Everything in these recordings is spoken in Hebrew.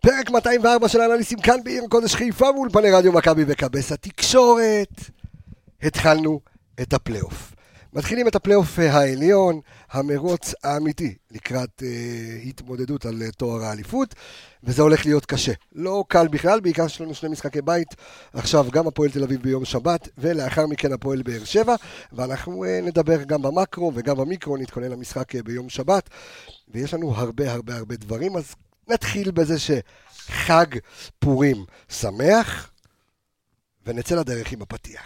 פרק 204 של אנליסטים כאן בעיר קודש חיפה ואולפני רדיו מכבי וכבס התקשורת. התחלנו את הפלייאוף. מתחילים את הפלייאוף אה, העליון, המרוץ האמיתי לקראת אה, התמודדות על אה, תואר האליפות, וזה הולך להיות קשה. לא קל בכלל, בעיקר יש לנו שני משחקי בית, עכשיו גם הפועל תל אביב ביום שבת, ולאחר מכן הפועל באר שבע, ואנחנו אה, נדבר גם במקרו וגם במיקרו, נתכונן למשחק אה, ביום שבת, ויש לנו הרבה הרבה הרבה דברים, אז נתחיל בזה שחג פורים שמח, ונצא לדרך עם הפתיח.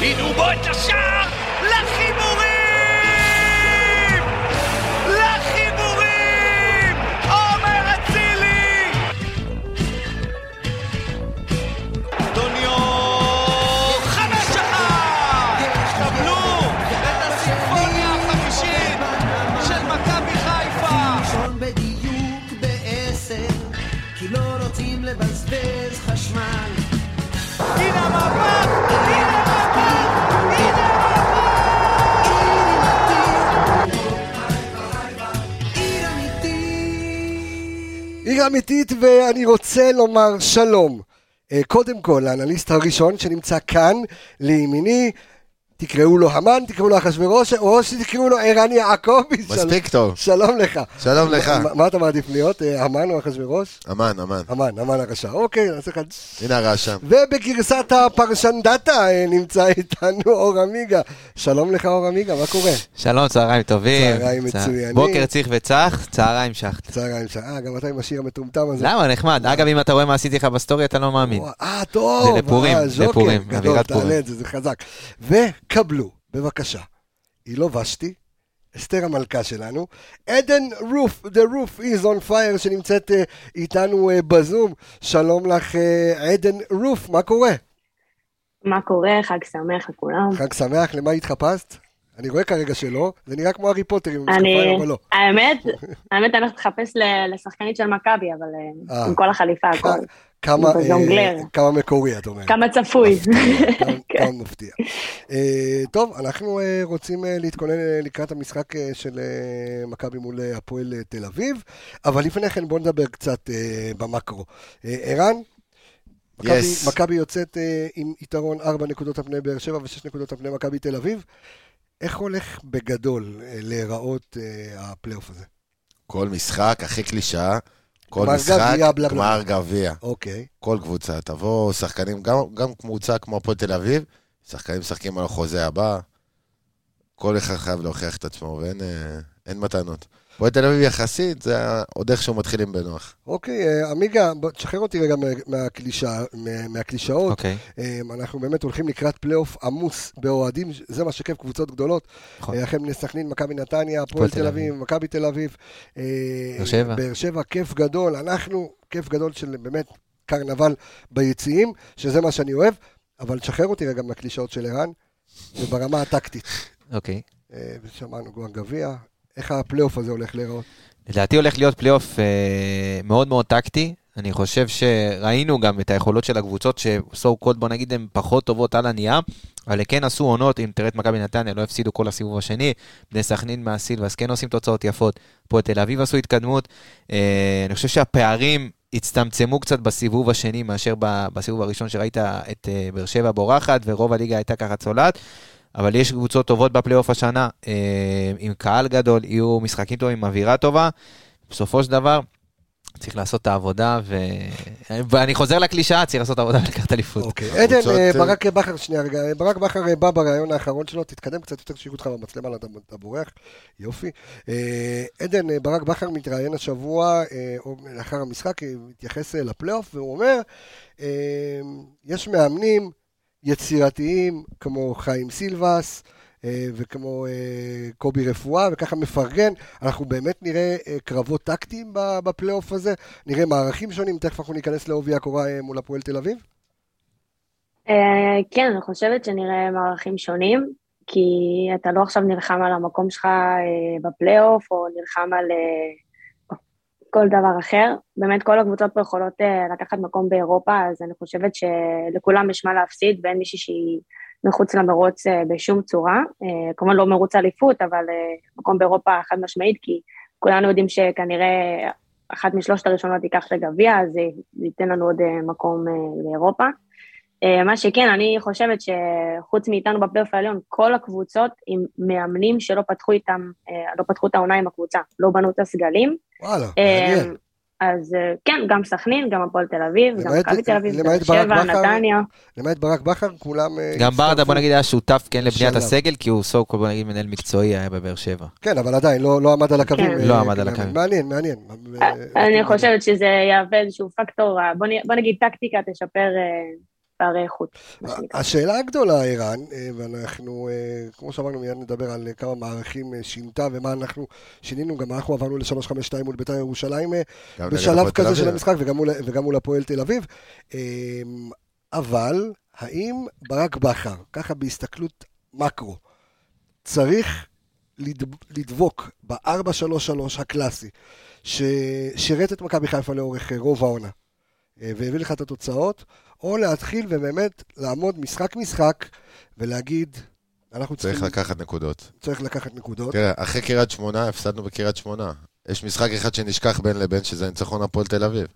הנה הוא בועט לשער! לחיבורים! לחיבורים! עומר אצילי! אנטוניו! חמש אחד! קבלו את הסימפוניה החמישית של מכבי חיפה! ראשון בדיוק בעשר, כי לא רוצים לבזבז חשמל. הנה המאבק! הנה המאבק! הנה עיר אמיתית! עיר אמיתית, ואני רוצה לומר שלום. אה, קודם כל, לאנליסט הראשון שנמצא כאן, לימיני, תקראו לו המן, תקראו לו אחשוורוש, או שתקראו לו ערן יעקבי. מספיק טוב. שלום, שלום לך. שלום לך. מה- מה אתה מעדיף להיות, אה, המן או אחשוורוש? אמן, אמן. המן, המן הרשע. אוקיי, נעשה כאן... הנה הרעשם. ובגרסת הפרשנדתה אה, נמצא איתנו אור עמיגה. שלום לך, אור עמיגה, מה קורה? שלום, צהריים טובים. צהריים צה- מצוינים. בוקר צריך וצח, צהריים שחט. צהריים שעה, גם אתה עם השיר המטומטם הזה. למה, נחמד. אגב, אם אתה רואה מה עשיתי לך בסטורי, אתה לא מאמין. וואו, אה, טוב. זה לפורים, אה, ז'וקר, לפורים, גדול, אווירת תעלה פורים. את זה, זה חזק. וקבלו, בבקשה. היא לא ושתי, אסתר המלכה שלנו. עדן רוף, The Roof is on fire, שנמצאת אה, איתנו אה, בזום. שלום לך, אה, עדן רוף, מה קורה? מה קורה? חג שמח לכולם. חג שמח, למה התחפשת? אני רואה כרגע שלא, זה נראה כמו הארי פוטר עם אני, משקפיים, אבל לא. האמת, האמת, אני הולכת לחפש ל- לשחקנית של מכבי, אבל אה, אה. עם כל החליפה, הכל. כ- כמה, הוא בזונגלר. אה, כמה מקורי, את אומרת. כמה צפוי. גם- כן. גם מפתיע. אה, טוב, אנחנו אה, רוצים אה, להתכונן אה, לקראת המשחק אה, של אה, מכבי מול אה, הפועל אה, תל אביב, אבל לפני כן בואו נדבר קצת אה, במקרו. אה, ערן? מכבי- Yes. מכבי יוצאת אה, עם יתרון 4 נקודות על פני באר שבע ו-6 נקודות על פני מכבי תל אביב. איך הולך בגדול אה, להיראות אה, הפלייאוף הזה? כל משחק, הכי קלישאה. כל גמר משחק, גביע, בלה, בלה. גמר גביע. אוקיי. כל קבוצה. תבוא שחקנים, גם- גם קבוצה כמו הפועל תל אביב, שחקנים משחקים על החוזה הבא. כל אחד חייב להוכיח את עצמו, ואין אה, אין מתנות. הפועל תל אביב יחסית, זה עוד איכשהו מתחילים בנוח. אוקיי, אה, עמיגה, בוא, תשחרר אותי רגע מה- מהקלישאה- מה- מהקלישאות. אוקיי. אמ, אנחנו באמת הולכים לקראת פלייאוף עמוס באוהדים, זה מה שכיף, קבוצות גדולות. נכון. אה, החל מנס סכנין, מכבי נתניה, הפועל תל תל אביב, מכבי תל אביב. אה, באר שבע. באר שבע, כיף גדול. אנחנו, כיף גדול של באמת קרנבל ביציעים, שזה מה שאני אוהב, אבל תשחרר אותי רגע מהקלישאות של ערן, וברמה הטקטית. אוקיי. אה, שמענו גואן גביע, איך הפלייאוף הזה הולך להיראות? לדעתי הולך להיות פלייאוף אה, מאוד מאוד טקטי. אני חושב שראינו גם את היכולות של הקבוצות שסו קוד, בוא נגיד, הן פחות טובות על הנייר, אבל הן כן עשו עונות, אם תראה את מכבי נתניה, לא הפסידו כל הסיבוב השני, בני סכנין מהסילבאס כן עושים תוצאות יפות, פה תל אביב עשו התקדמות. אה, אני חושב שהפערים הצטמצמו קצת בסיבוב השני מאשר ב- בסיבוב הראשון שראית את אה, באר שבע בורחת, ורוב הליגה הייתה ככה צולעת. אבל יש קבוצות טובות בפלייאוף השנה, אה, עם קהל גדול, יהיו משחקים טובים, עם אווירה טובה. בסופו של דבר, צריך לעשות את העבודה, ו... ואני חוזר לקלישאה, צריך לעשות עבודה ולקחת אליפות. אוקיי, עדן, הקבוצות, אה, אה, ברק בכר, שנייה רגע, אה, ברק בכר אה, בא בריאיון האחרון שלו, תתקדם קצת יותר, שיראו אותך במצלמה, לא, אתה- אתה בורח, יופי. אה, עדן, אה, ברק בכר מתראיין השבוע, אה, או לאחר המשחק, אה, מתייחס אה, לפלייאוף, והוא אומר, אה, יש מאמנים יצירתיים, כמו חיים סילבס, אה, וכמו אה, קובי רפואה, וככה מפרגן, אנחנו באמת נראה אה, קרבות טקטיים ב- בפלייאוף הזה, נראה מערכים שונים, תכף אנחנו ניכנס לעובי הקורה אה, מול הפועל תל אביב. אה, כן, אני חושבת שנראה מערכים שונים, כי אתה לא עכשיו נלחם על המקום שלך אה, בפלייאוף, או נלחם על אה, כל דבר אחר. באמת, כל הקבוצות פה יכולות אה, לקחת מקום באירופה, אז אני חושבת שלכולם יש מה להפסיד, ואין מישהי שהיא מחוץ למרוץ אה, בשום צורה. אה, כמובן לא מרוץ אליפות, אבל אה, מקום באירופה חד משמעית, כי כולנו יודעים שכנראה אחת משלושת הראשונות תיקח את הגביע, אז זה זה ייתן לנו עוד אה, מקום אה, לאירופה. אה, מה שכן, אני חושבת שחוץ מאיתנו בפלייאוף העליון, כל הקבוצות עם מאמנים שלא פתחו איתם, אה, לא פתחו את העונה עם הקבוצה, לא בנו את הסגלים. וואלה, אה, מעניין. אז אה, כן, גם סכנין, גם הפועל תל אביב, גם למעט- מכבי תל אביב, למעט באר שבע, ברק בכר. נתניה. למעט ברק בכר, כולם... אה, גם ברדה, הצטרפו. בוא נגיד, היה שותף כן לבניית שלב. הסגל, כי הוא סוף כל בוא נגיד מנהל מקצועי היה בבאר שבע. כן, אבל עדיין, לא לא עמד על הקווים. כן. אה, לא עמד על אה, הקווים. מעניין, מעניין. אה, אני אה, חושבת שזה יהווה איזשהו פקטור, אה, בוא נ- בוא נגיד טקטיקה תשפר אה, פערי איכות, מה שנקרא. אה, השאלה הגדולה, ערן, אה, ואנחנו, אה, כמו שאמרנו, מיד נדבר על אה, כמה מערכים אה, שינתה ומה אנחנו שינינו, גם אנחנו עברנו ל-352 מול בית"ר ירושלים אה, אוקיי, גם נגד בשלב הפועל תל כזה של אביב. המשחק וגם מול- וגם מול הפועל תל אביב. אה, אבל האם ברק בכר, ככה בהסתכלות מקרו, צריך לדב- לדבוק ב-433 הקלאסי, ששירת את מכבי חיפה לאורך אה, רוב העונה, אה, והביא לך את התוצאות, או להתחיל ובאמת לעמוד משחק-משחק ולהגיד, אנחנו צריך צריכים, לקחת כן. נקודות. צריך לקחת נקודות. תראה, אחרי קריית שמונה, הפסדנו בקריית שמונה. יש משחק אחד שנשכח בין לבין, שזה ניצחון הפועל תל אביב.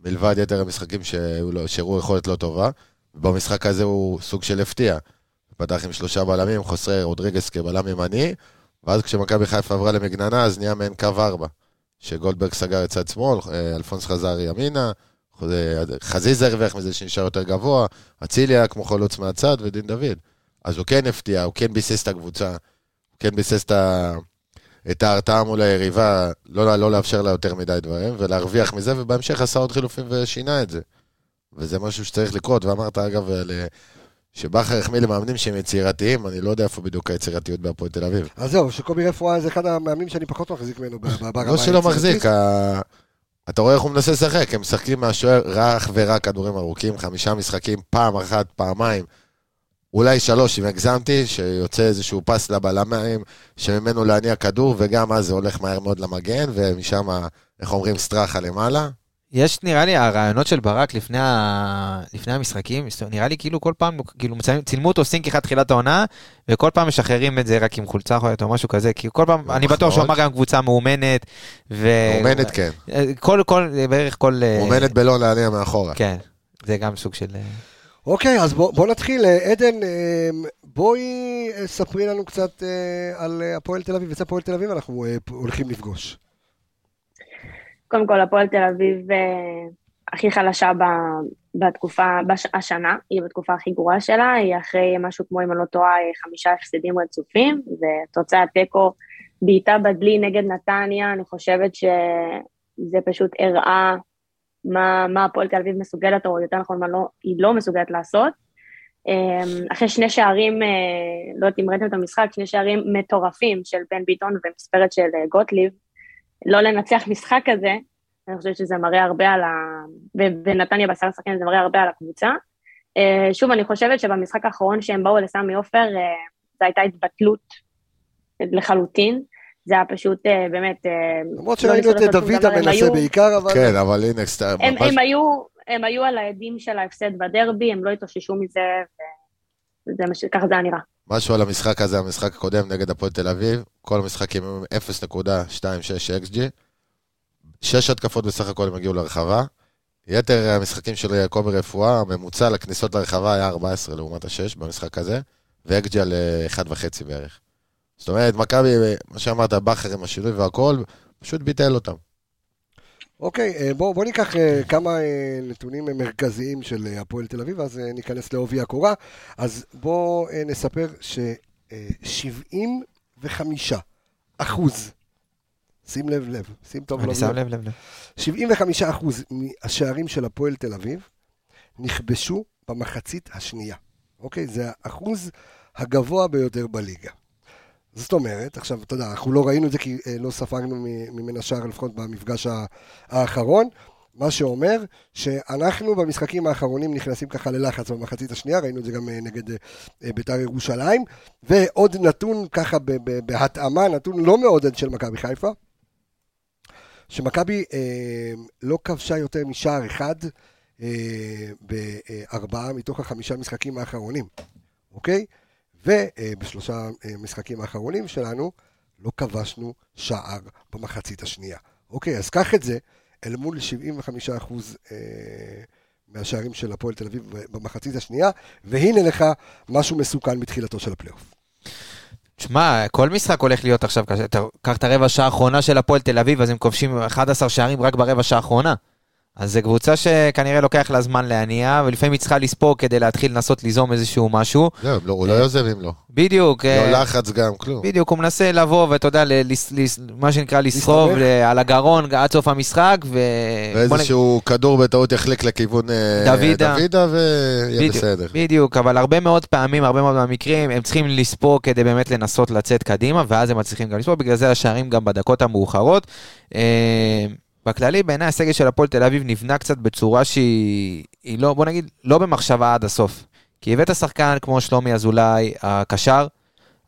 מלבד יתר המשחקים שהיו לו- שהראו יכולת לא טובה, במשחק הזה הוא סוג של הפתיע. פתח עם שלושה בלמים, חוסרי רודריגס כבלם ימני, ואז כשמכבי חיפה עברה למגננה, אז נהיה מעין קו ארבע. שגולדברג סגר את צד שמאל, אה, אלפונס חזר ימינה, חוזה- חזיזה הרוויח מזה שנשאר יותר גבוה, אצילי היה כמו חלוץ מהצד, ודין דוד. אז הוא כן הפתיע, הוא כן ביסס את הקבוצה, הוא כן ביסס את ה- את ההרתעה מול היריבה, לא, לא לאפשר לה יותר מדי דברים, ולהרוויח מזה, ובהמשך עשה עוד חילופים ושינה את זה. וזה משהו שצריך לקרות, ואמרת אגב, על, אה, שבכר החמיא למאמנים שהם יצירתיים, אני לא יודע איפה בדיוק היצירתיות בהפועל תל אביב. אז זהו, שקובי רפואה זה אחד המאמנים שאני פחות מחזיק ממנו ב- ב- ברמה לא שלא היצירתית. מחזיק, ה- אתה רואה איך הוא מנסה לשחק, הם משחקים מהשוער רך ורק כדורים ארוכים, חמישה משחקים, פעם אחת, פעמיים, אולי שלוש, אם הגזמתי, שיוצא איזשהו פס לבלמים, שממנו להניע כדור, וגם אז זה הולך מהר מאוד למגן, ומשם, איך אומרים, סטראחה למעלה. יש, נראה לי, הרעיונות של ברק לפני, ה... לפני המשחקים, זאת אומרת, נראה לי כאילו כל פעם, כאילו מצלמים- צילמו אותו סינק אחד תחילת העונה, וכל פעם משחררים את זה רק עם חולצה אחרת או משהו כזה, כי כל פעם, אני בטוח שהוא מחמאות. אמר גם קבוצה מאומנת, ו... נכון. אה, מאומנת, כן. כל, כל, בערך כל... אה, מאומנת בלא להניע מאחורה. כן, זה גם סוג של... אה, אוקיי, אז בוא, בוא נתחיל. אה, עדן, אה, בואי אה, ספרי לנו קצת אה, על אה, הפועל תל אביב. אצל הפועל תל אביב אנחנו אה, פ- הולכים לפגוש. קודם כל, הפועל תל אביב אה, הכי חלשה ב- בתקופה, בש- השנה, היא בתקופה הכי גרועה שלה, היא אחרי משהו כמו, אם אני לא טועה, אה, חמישה הפסדים רצופים, ותוצאת תיקו, בעיטה בדלי נגד נתניה, אני חושבת שזה פשוט הראה מה, מה הפועל תל אביב מסוגלת, או יותר נכון, מה לא, היא לא מסוגלת לעשות. אמ, אחרי שני שערים, אה, לא יודעת אם ראיתם את המשחק, שני שערים מטורפים של בן ביטון ומספרת של אה, גוטליב, לא לנצח משחק כזה, אני חושבת שזה מראה הרבה על ה... ו- ונתניה בשר השחקנים זה מראה הרבה על הקבוצה. אה, שוב, אני חושבת שבמשחק האחרון שהם באו לסמי עופר, אה, זו הייתה התבטלות לחלוטין. זה היה פשוט אה, באמת... אה, למרות לא שראינו ניסו את אה, לעשות שום דוד דבר, הם המנסה היו- בעיקר, אבל... כן, אבל הנה, סתם, הם, ממש- הם, היו, הם היו על העדים של ההפסד בדרבי, הם לא התאוששו מזה, וזה מה ש... ככה זה היה נראה. משהו על המשחק הזה, המשחק הקודם נגד הפועל תל אביב, כל המשחקים הם 0.26 XG, שש התקפות בסך הכל הם הגיעו לרחבה, יתר המשחקים של יעקב רפואה, הממוצע לכניסות לרחבה היה 14 לעומת ה-6 במשחק הזה, ו-XG על אה, 1.5 בערך. זאת אומרת, מכבי, אה, מה שאמרת, בכר עם השינוי והכל, פשוט ביטל אותם. אוקיי, אה, בוא, בוא ניקח אה, כמה אה, נתונים אה, מרכזיים של אה, הפועל תל אביב, אז אה, ניכנס לעובי הקורה. אז בואו נספר אה, ש-75 אחוז, שים לב לב, שים טוב לא לב לא אני שם לב, לב, 75% לב. מהשערים של הפועל תל אביב נכבשו במחצית השנייה. אוקיי? זה האחוז הגבוה ביותר בליגה. זאת אומרת, עכשיו, אתה יודע, אנחנו לא ראינו את זה כי אה, לא ספגנו מ- ממנה שער, לפחות במפגש ה- האחרון. מה שאומר שאנחנו במשחקים האחרונים נכנסים ככה ללחץ במחצית השנייה, ראינו את זה גם אה, נגד אה, אה, בית"ר ירושלים. ועוד נתון ככה ב- ב- בהתאמה, נתון לא מעודד של מכבי חיפה, שמכבי אה, לא כבשה יותר משער אחד אה, בארבעה מתוך החמישה משחקים האחרונים. אוקיי? ובשלושה אה, משחקים האחרונים שלנו לא כבשנו שער במחצית השנייה. אוקיי, אז קח את זה אל מול 75% אה, מהשערים של הפועל תל אביב במחצית השנייה, והנה לך משהו מסוכן מתחילתו של הפלייאוף. תשמע, כל משחק הולך להיות עכשיו קשה. אתה- קח את הרבע שעה האחרונה של הפועל תל אביב, אז הם כובשים 11 שערים רק ברבע שעה האחרונה. אז זו קבוצה שכנראה לוקח לה זמן להניע, ולפעמים היא צריכה לספור כדי להתחיל לנסות ליזום איזשהו משהו. זהו, לא, הוא לא יוזם אם לא. בדיוק. אה, לא לחץ גם, כלום. בדיוק, הוא מנסה לבוא, ואתה יודע, ל- לס- לס- מה שנקרא, לסחוב להסתבך. ל- על הגרון עד סוף המשחק, ו... בוא נגיד- ואיזשהו כדור בטעות יחליק לכיוון אה, דוידה. דוידה ויהיה בדיוק, בסדר. בדיוק, אבל הרבה מאוד פעמים, הרבה מאוד מהמקרים, הם צריכים לספור כדי באמת לנסות לצאת קדימה, ואז הם מצליחים גם לספור, בגלל זה השערים גם בדקות המאוחרות. אה, בכללי, בעיניי הסגל של הפועל תל אביב נבנה קצת בצורה שהיא, היא לא, בוא נגיד, לא במחשבה עד הסוף. כי הבאת שחקן כמו שלומי אזולאי, הקשר,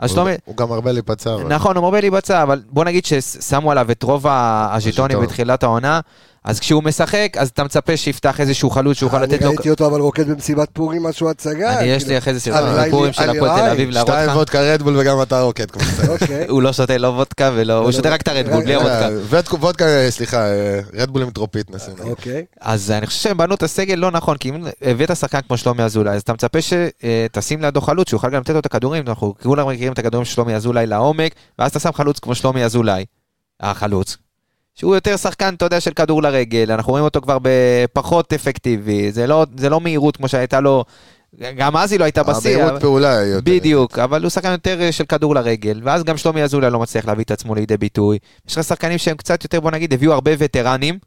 אז הוא- שלומי... הוא גם הרבה להיפצע. אבל- נכון, הוא מרבה להיבצע, אבל בוא נגיד ששמו עליו את רוב הז'יטונים הז'יטונים. בתחילת העונה, אז כשהוא משחק, אז אתה מצפה שיפתח איזשהו חלוץ שיוכל אני לתת לו... ראיתי אותו אבל רוקד במסיבת פורים משהו הצגה. אני, יש לי כאילו. אחרי זה אה, על סרטון לילי- סיפורים אה, של על הפועל תל לילי. אביב להראות שתיים לך. וודקה רדבול וגם אתה רוקד כמו שצריך. אוקיי. הוא לא שותה לא וודקה ולא, הוא שותה רק את הרדבול, בלי אה, הוודקה. וודקה- וודקה, אה, סליחה, אה, רדבול עם טרופית נשים. אה, אוקיי. אז אני חושב שהם בנו את הסגל לא נכון, כי אם הבאת שחקן כמו שלומי אזולאי, אז אתה מצפה שתשים לידו חלוץ, שיוכל גם לתת לו את הכדורים, אנחנו כולם מכירים את הכדורים של שלומי אזולאי לעומק, ואז אתה שם חלוץ כמו שלומי אזולאי, החלוץ, שהוא יותר שחקן, אתה יודע, של כדור לרגל, אנחנו רואים אותו כבר בפחות אפקטיבי, זה לא, זה לא מהירות כמו שהייתה לו, גם אז היא לא הייתה בשיא. אבל- המהירות אה, פעולה היא יותר. בדיוק, אבל הוא שחקן יותר אה, של כדור לרגל, ואז גם שלומי אזולאי לא מצליח להביא את עצמו לידי ביטוי. יש לך שחקנים שהם קצת יותר, בוא נגיד, הביאו הרבה וטרנים.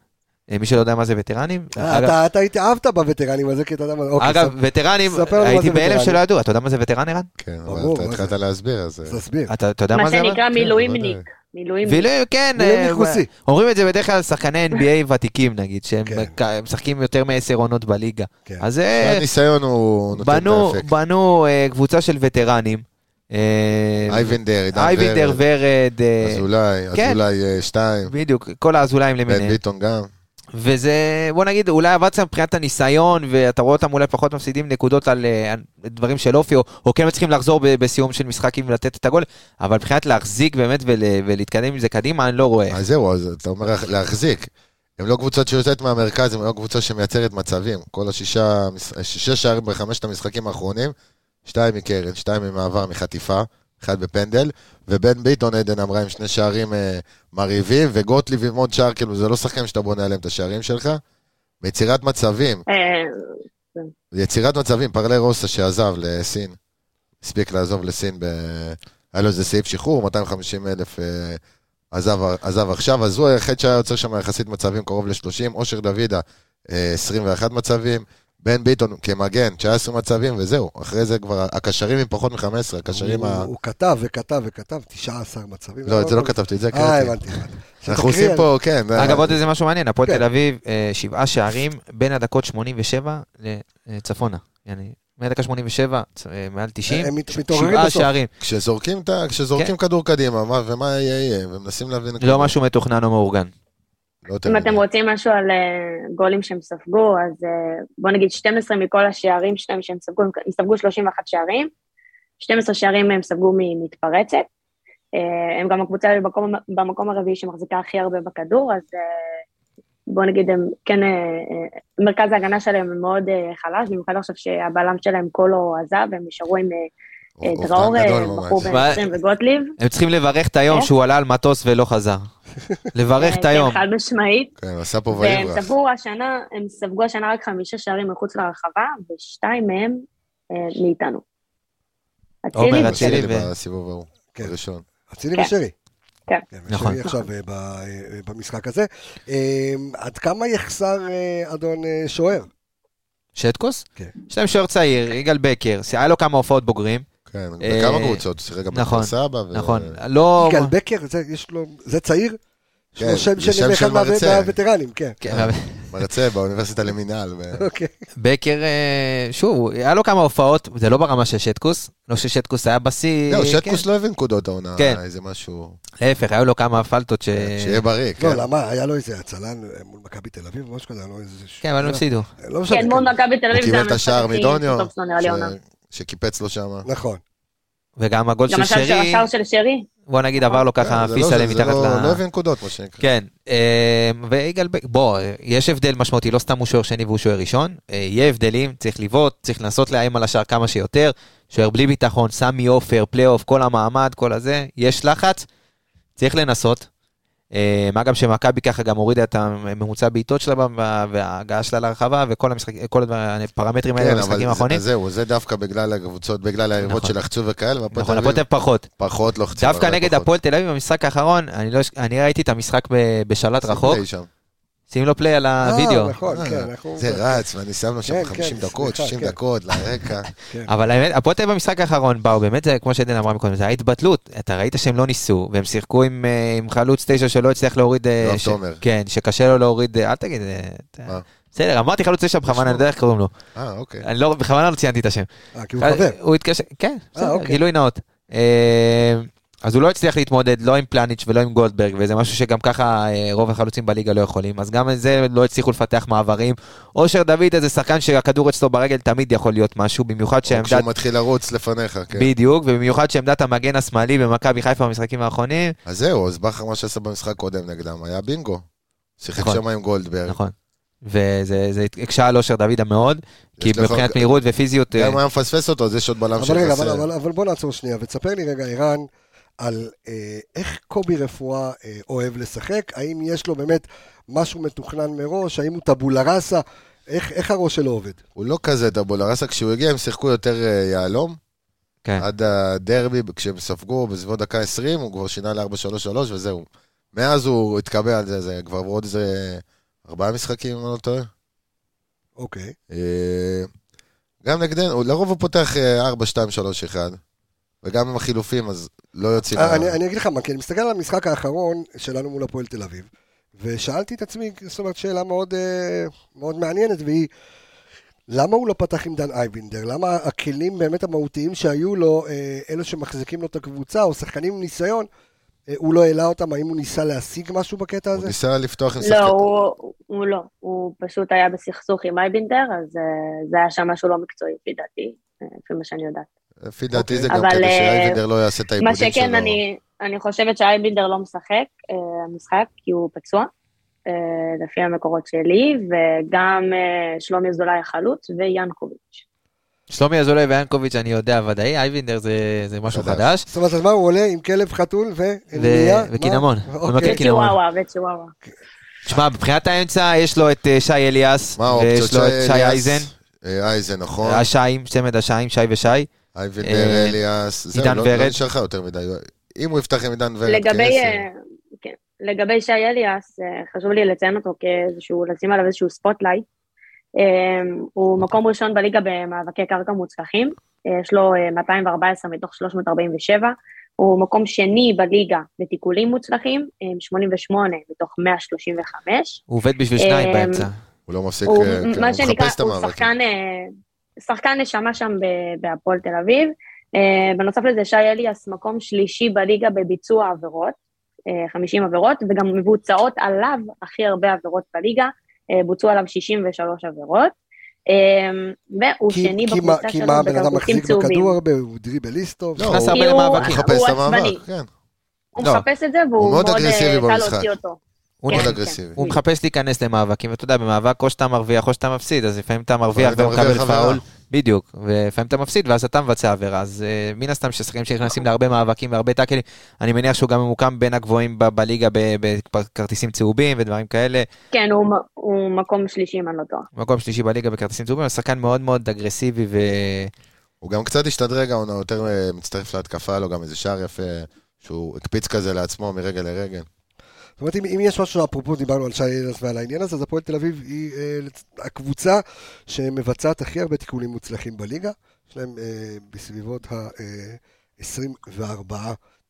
אה, מי שלא יודע מה זה וטרנים. אה, אגב- אתה- אתה התאהבת בווטרנים הזה כי אתה יודע מה... אוקיי, אגב, סב- וטרנים, ספר לנו מה הייתי זה בהלם וטרנים. שלא ידעו, אתה יודע מה זה וטרן ערן? כן, אבל ברור, אתה מה התחלת זה? להסביר, אז... אה, תסביר. אתה אתה יודע מה מה זה? אבל? שנקרא מילואימניק. בוודאי. מילואימניק. וילואים, כן, וילואים אה, ייחוסי. אומרים את זה בדרך כלל שחקני NBA ותיקים נגיד, שהם כן. כ- משחקים יותר מעשר עונות בליגה. כן. אז אה, הניסיון הוא נותן את בנו- האפקט. בנו אה, קבוצה של וטרנים. אה, אייבנדר, עידן אייבינדר, ורד, ורד, אה, אזולאי, כן. אזולאי אה, שתיים, בדיוק, כל האזולאים בן למיניהם. ביטון גם. וזה, בוא נגיד, אולי עבד שם מבחינת הניסיון, ואתה רואה אותם אולי פחות מפסידים נקודות על אה, על דברים של אופי, או, או כן מצליחים לחזור ב- בסיום של משחקים ולתת את הגול, אבל מבחינת להחזיק באמת ול, ולהתקדם עם זה קדימה, אני לא רואה. אז זהו, אז אתה אומר לה- להחזיק. הם לא קבוצות שיוצאת מהמרכז, הם לא קבוצה שמייצרת מצבים. כל השישה, מש- שישה שערים בחמשת המשחקים האחרונים, שתיים מקרן, שתיים ממעבר מחטיפה, אחד בפנדל, ובן ביטון עדן אמרה עם שני שערים אה, מרהיבים, וגוטליב עם עוד שער, כאילו, זה לא שחקנים שאתה בונה עליהם את השערים שלך. ביצירת מצבים, אה, יצירת מצבים, פרלה רוסה שעזב לסין, הספיק לעזוב לסין, ב... היה לו איזה סעיף שחרור, 250 אלף אה, עזב, עזב עכשיו, אז הוא היחיד שהיה יוצר שם יחסית מצבים קרוב ל-30, אושר דוידה, אה, 21 מצבים, בן ביטון כמגן, 19 מצבים, וזהו, אחרי זה כבר, הקשרים הם פחות מ-15, הקשרים הוא- ה... הוא כתב וכתב וכתב 19 מצבים. לא, את זה לא כתבתי, את זה אה, קראתי. הבנתי. הבנתי. אנחנו עושים שתקריא, פה, כן. אגב, עוד איזה משהו מעניין, הפועל אה, כן. תל אביב, אה, שבעה שערים בין הדקות 87 לצפונה. אה, יעני, מהדקה 87, צ- אה, מעל 90, הם מת- מתעוררים שבעה בסוף. שערים. כשזורקים, את ה- כשזורקים כדור קדימה, מה, ומה יהיה, יהיה, ומנסים להבין... כן. לא משהו מתוכנן או מאורגן. לא יותר אם מדי. אתם רוצים משהו על אה, גולים שהם ספגו, אז אה, בואו נגיד 12 מכל השערים שלהם שהם ספגו, הם ספגו 31 שערים, 12 שערים הם ספגו ממתפרצת. אה, הם גם הקבוצה במקום, במקום הרביעי שמחזיקה הכי הרבה בכדור, אז אה, בואו נגיד הם כן, אה, אה, מרכז ההגנה שלהם מאוד אה, חלש, במיוחד עכשיו שהבלם שלהם קולו עזב, הם נשארו עם אה, אה, אובדן דראור, אה, גדול ממש. בחור בן מה- 20 וגוטליב. הם צריכים לברך את היום איך? שהוא עלה על מטוס ולא חזר. לברך את אה, כן, היום. חד משמעית. כן, עשה פה והם ויברח. ספגו השנה, הם ספגו השנה רק חמישה שערים מחוץ לרחבה, ושתיים מהם אה, מאיתנו. אצילי, עומר, ו- אצילי. אצילי ו- בסיבוב ההוא, כן. הראשון. אצילי כן. ושרי. כן. נכון. ושרי עכשיו אה, ב- אה, במשחק הזה. אה, עד כמה יחסר אה, אדון אה, שוער? שטקוס? כן. יש להם שוער צעיר, יגאל בקר, היה לו כמה הופעות בוגרים, כן, אה, בכמה קבוצות, הוא שיחק גם נכון, בכפר סבא. ו- נכון, לא... יגאל בקר, זה- יש לו- זה צעיר? יש לו כן, שם זה של שם אחד של מרצה. מהווטרנים, כן. כן, מרצה באוניברסיטה למינהל. ו- אוקיי. בקר, אה, שוב, היה לו כמה הופעות, זה לא ברמה של שטקוס, לא ששטקוס היה בשיא, זהו, כן. שטקוס לא הביא נקודות העונה, כן. אה, איזה משהו, להפך, היו לו כמה פלטות ש... שיהיה בריא, כן. לא, למה? היה לו איזה הצלן אה, מול מכבי תל אביב, משהו כזה, היה לו איזה... כן, אבל הם לא- הפסידו. לא משנה. כן, מול מכבי תל הוא אביב זה קיבל את המשחק השער הכי מדוניו, טוב שלו נראה לי ש- עונה. שקיפץ לו שם. נכון. וגם הגול גם של השער של שרי, השער של שרי. בוא נגיד עבר לו ככה זה לא- פיסלה זה מתחת לא- ל... לא הביא נקודות, מה שנקרא. כן, אה, ויגאל בק, בוא, אה, יש הבדל משמעותי, לא סתם הוא שוער שני והוא שוער ראשון, אה, יהיה הבדלים, צריך לבעוט, צריך לנסות לאיים על השער כמה שיותר, שוער בלי ביטחון, סמי עופר, פלייאוף, כל המעמד, כל הזה, יש לחץ, צריך לנסות. אה, מה גם שמכבי ככה גם הורידה את הממוצע בעיטות שלה ב- וההגעה שלה להרחבה וכל המשחק, כל הדבר- הפרמטרים האלה כן, במשחקים אבל זה- האחרונים. אז זהו, זה דווקא בגלל הקבוצות, בגלל היריבות נכון. שלחצו וכאלה, והפועל נכון, תל הפועל תל אביב אביב פחות. פחות לוחצו. דווקא הרבה נגד פחות. הפועל תל אביב במשחק האחרון, אני לא אש- אני ראיתי את המשחק ב- בשלט שים רחוק, play שם. שים לו פליי על לא, הוידאו. אה, נכון, אה, כן, אנחנו... זה רץ, ואני שם לו שם כן, 50 כן, דקות, סליחה, 60 כן. דקות לרקע. אבל האמת, הפועל תל אביב במשחק האחרון באו, באמת, זה, כמו שעדן אמרה מקודם, זה היה התבטלות. אתה ראית שהם לא ניסו, והם שיחקו עם, אה, עם חלוץ תשע שלא הצליח להוריד... אה, יואב ש- תומר. כן, שקשה לו להוריד... אה, אל תגיד... אה, אתה- מה? בסדר, אמרתי חלוץ תשע בכוונה, אני לא יודע איך קוראים לו. אה, אוקיי. אני לא, בכוונה לא ציינתי את השם. אה, כן. כי הוא חבר. הוא התקשר, כן, בסדר, אוקיי. גילוי נאות. אה, אז הוא לא הצליח להתמודד לא עם פלניץ' ולא עם גולדברג, וזה משהו שגם ככה אה, רוב החלוצים בליגה לא יכולים, אז גם את זה לא הצליחו לפתח מעברים. אושר דוד איזה שחקן שהכדור אצלו ברגל תמיד יכול להיות משהו, במיוחד או שהעמדה... אוקיי, כשהוא מתחיל לרוץ לפניך, כן. בדיוק, ובמיוחד שעמדת המגן השמאלי במכבי חיפה במשחקים האחרונים. אז זהו, אז בכר מה שעשה במשחק קודם נגדם היה בינגו. שיחק נכון. שם עם גולדברג. נכון. וזה זה הקשה על אושר דוידה מאוד, כי יש לך- מבחינת מהירות ופיזיות... גם אה, אם היה מפספס אותו, אז יש עוד בלם אבל רגע, אבל, שחסר. אבל, אבל בוא נעצור שנייה, ותספר לי רגע, ערן, על אה, איך קובי רפואה אה, אוהב לשחק, האם יש לו באמת משהו מתוכנן מראש, האם הוא טבולה ראסה, איך, איך הראש שלו עובד? הוא לא כזה טבולה ראסה, כשהוא הגיע הם שיחקו יותר אה, יהלום, כן. עד הדרבי, כשהם ספגו בסביבות דקה 20, הוא כבר שינה ל-4-3-3 וזהו. מאז הוא התקבע על זה, זה כבר עוד איזה ארבעה משחקים, אם אני לא טועה. אוקיי. אה, גם נגדנו, הוא- לרוב הוא פותח אה, 4-2-3-1, וגם עם החילופים, אז לא יוצאים... אה, מה- אני, אני אגיד לך מה, כי אני מסתכל על המשחק האחרון שלנו מול הפועל תל אביב, ושאלתי את עצמי, זאת אומרת, שאלה מאוד, אה, מאוד מעניינת, והיא, למה הוא לא פתח עם דן אייבינדר? למה הכלים באמת המהותיים שהיו לו, אה, אלו שמחזיקים לו את הקבוצה, או שחקנים עם ניסיון, אה, הוא לא העלה אותם? האם הוא ניסה להשיג משהו בקטע הוא הזה? ניסה לפתוח עם לא, שחקן... הוא- הוא לא. הוא פשוט היה בסכסוך עם אייבינדר, אז אה, זה היה שם משהו לא מקצועי, לפי דעתי, אה, לפי מה שאני יודעת. לפי דעתי זה גם אבל, כדי אה, שאייבינדר לא יעשה את מה העיבודים שלו. שכן, אני, אני חושבת שאייבינדר לא משחק, אה, המשחק, כי הוא פצוע, אה, לפי המקורות שלי, וגם אה, שלומי אזולאי החלוץ ויאנקוביץ'. שלומי אזולאי ויאנקוביץ' אני יודע ודאי, אייבינדר זה זה משהו חדש. חדש. זאת אומרת, אז מה, הוא עולה עם כלב חתול ו... איליה? מה? וקינמון. הוא אוקיי. כן, מכיר- קינמון. וצ'יוואווה, וצ'יוואווה. תשמע, מבחינת האמצע יש לו את אה, שי אליאס, מה האופציות ויש לו את שי אליאס? אייזן, אה, אייזן, נכון. השיים, צמד השיים, שי ושי. אייבינדר, אה, אליאס, זהו, עידן לא ורד. לא נשאר לך יותר מדי. אם הוא יפתח עם עידן ורד, לגבי, כעשר. אה, כן, לגבי שי אליאס, אה, חשוב לי לציין אותו כאיזשהו, לשים עליו איזשהו ספוטלייט. אה, הוא מקום ראשון בליגה במאבקי קרקע מוצלחים, אה, יש לו אה, 214 מתוך 347. הוא מקום שני בליגה בתיקולים מוצלחים, אה, עם 88 מתוך 135. הוא עובד בשביל שניים אמ, אה, באמצע. הוא לא מפסיק, הוא, אה, כן, מה הוא שנקרא, מחפש את הוא המאבק. שחקן, אה, שחקן נשמה שם ב- בהפועל תל אביב. אה, בנוסף לזה, שי אליאס מקום שלישי בליגה בביצוע עבירות, אה, 50 עבירות, וגם מבוצעות עליו הכי הרבה עבירות בליגה, אה, בוצעו עליו 63 עבירות. אה, והוא כי- שני כי מה- בקבוצה כי שלו מה, הבן אדם בכרטיסים מחזיק צהובים. בכדור הרבה, הוא דריבליסט טוב. לא, נכנס הוא- הרבה כי הוא- למאבק. הוא מחפש הוא את המאבק, עצבני. כן. הוא לא. מחפש את זה, הוא והוא מאוד מאוד אה, אגרסיבי קל במשחק. להוציא אותו. הוא כן, מאוד כן. אגרסיבי. הוא מחפש להיכנס למאבקים, ואתה יודע, במאבק או שאתה מרוויח או שאתה מפסיד, אז לפעמים אתה מרוויח אתה מרוויח ומקבל עבירה. פאול. בדיוק, ולפעמים אתה מפסיד ואז אתה מבצע עבירה, אז אה, מן הסתם ששחקנים שנכנסים להרבה מאבקים והרבה טאקלים, אני מניח שהוא גם ממוקם בין הגבוהים ב- בליגה ב- בכרטיסים צהובים ודברים כאלה, כן, הוא מ- הוא מקום שלישי, אם אני לא טועה. מקום שלישי בליגה בכרטיסים צהובים, אז שחקן מאוד מאוד אגרסיבי ו... הוא גם קצת השתדרג, העונה יותר אה, מצטרף להתקפה, היה לו גם איזה שער יפה, שהוא הקפיץ כזה לעצמו מרגע לרגל. זאת אומרת, אם, אם יש משהו, אפרופו דיברנו על שי אילס ועל העניין הזה, אז הפועל תל אביב היא אה, לצ- הקבוצה שמבצעת הכי הרבה תיקולים מוצלחים בליגה. יש להם אה, בסביבות ה-24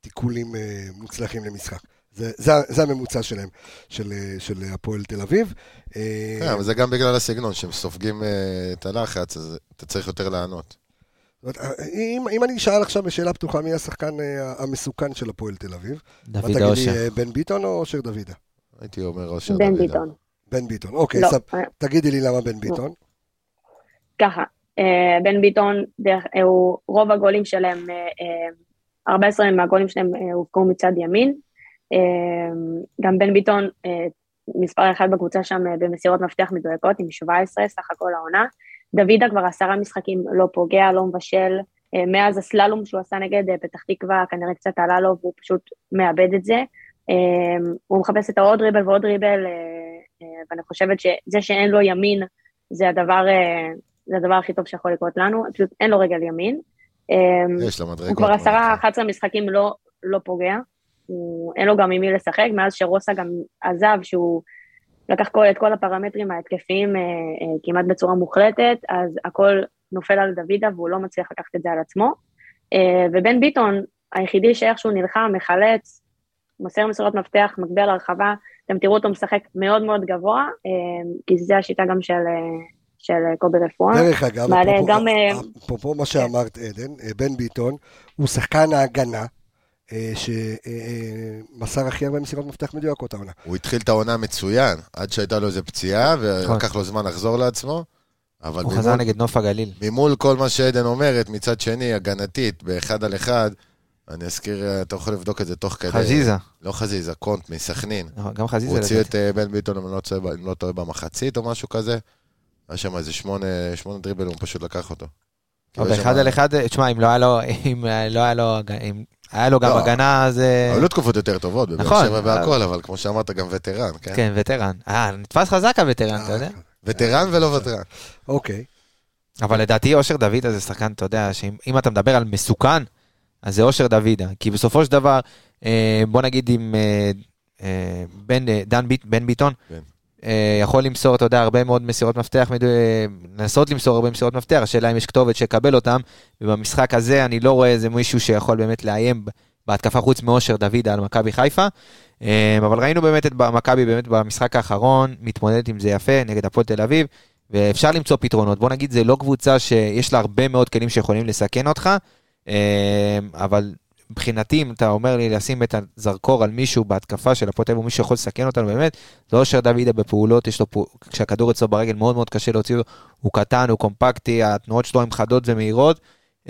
תיקולים אה, מוצלחים למשחק. זה, זה, ה- זה הממוצע שלהם, של, אה, של הפועל תל אביב. אה, כן, אבל זה גם בגלל הסגנון, שהם סופגים אה, את הלחץ, אז אתה צריך יותר לענות. זאת אומרת, אה, אם, אם אני אשאל עכשיו בשאלה פתוחה, מי השחקן אה, המסוכן של הפועל תל אביב? לא מה דוד תגיד לי, האושר. אה, בן ביטון או אושר דוידה? הייתי אומר אושר בן דוידה. ביטון. בן ביטון, אוקיי, לא, סב, אה, תגידי לי למה בן ביטון. ככה, אה, בן ביטון, דרך, אה, הוא, רוב הגולים שלהם, אה, אה, 14 מהגולים שלהם אה, הובקעו מצד ימין. אה, גם בן ביטון, אה, מספר אחד בקבוצה שם אה, במסירות מפתח מדויקות, עם 17 סך הכל העונה. דוידה כבר עשרה משחקים לא פוגע, לא מבשל. אה, מאז הסללום שהוא עשה נגד אה, פתח תקווה, כנראה קצת עלה לו, והוא פשוט מאבד את זה. אה, הוא מחפש את העוד ריבל ועוד ריבל, אה, אה, ואני חושבת שזה שאין לו ימין, זה הדבר, אה, זה הדבר הכי טוב שיכול לקרות לנו, פשוט אין לו רגל ימין. אה, יש לה מדרגות. הוא כבר עשרה, מה? אחת עשרה משחקים לא, לא פוגע. הוא, אין לו גם עם מי לשחק, מאז שרוסה גם עזב, שהוא לקח כל, את כל הפרמטרים ההתקפיים אה, אה, כמעט בצורה מוחלטת, אז הכל נופל על דוידה והוא לא מצליח לקחת את זה על עצמו. אה, ובן ביטון, היחידי שאיכשהו נלחם, מחלץ, מוסר מסירות מפתח, מגביה להרחבה, אתם תראו אותו משחק מאוד מאוד גבוה, אה, כי זו השיטה גם של, אה, של אה, קובי רפואה. דרך אגב, מעלה אפרופו- גם, אה, אפרופו מה שאמרת, עדן, אה, בן ביטון, הוא שחקן ההגנה, אה, שמסר אה, הכי הרבה מסירות מפתח מדויקות העונה. הוא התחיל את העונה מצוין, עד שהייתה לו איזה פציעה, ולקח לו זמן לחזור לעצמו. אבל נכון. הוא ממול- חזר נגד נוף הגליל. ממול כל מה שעדן אומרת, מצד שני, הגנתית, באחד על אחד, אני אזכיר, אה, אתה יכול לבדוק את זה תוך כדי. חזיזה, לא חזיזה, קונט מסכנין. גם חזיזה. הוא הוציא לדעתי. את אה, בן ביטון, אם אני לא טועה, ב- אם לא טועה, במחצית או משהו כזה. היה שם איזה שמונה שמונה דריבלים, הוא פשוט לקח אותו. לא, כאילו, יש באחד שם- על אחד, אה, תשמע, אם לא היה לו, אם אה, לא היה לו, הג- אם היה לו גם לא. הגנה, אז... אה, היו לו תקופות יותר טובות, בבאר נכון, שבע אבל- והכל, אבל כמו שאמרת, גם וטרן, כן? כן, וטרן. אה, נתפס חזק הווטרן, אה, אתה יודע? וטרן ולא וטרן. אה, אוקיי. אבל לדעתי אושר דוידה זה שחקן, אתה יודע, שאם אם אתה מדבר על מסוכן, אז זה אושר דוידה. כי בסופו של דבר, אה, בוא נגיד אם אה, אה, בן, אה, דן ביט, בן ביטון, כן. אה, יכול למסור, אתה יודע, הרבה מאוד מסירות מפתח, מדו- אה, לנסות למסור הרבה מסירות מפתח, השאלה אם יש כתובת שיקבל אותם, ובמשחק הזה אני לא רואה איזה מישהו שיכול באמת לאיים ב- בהתקפה חוץ מאושר דוידה על מכבי חיפה. אה, אבל ראינו באמת את ב- מכבי באמת במשחק האחרון, מתמודדת עם זה יפה נגד הפועל תל אביב. ואפשר למצוא פתרונות. בוא נגיד, זה לא קבוצה שיש לה הרבה מאוד כלים שיכולים לסכן אותך, אה, אבל מבחינתי, אם אתה אומר לי לשים את הזרקור על מישהו בהתקפה של הפועל תל אביב, או מישהו שיכול לסכן אותנו באמת, זה אושר דוידה בפעולות, יש לו, פע- כשהכדור אצלו ברגל מאוד מאוד קשה להוציא אותו, הוא קטן, הוא קומפקטי, התנועות שלו הן חדות ומהירות.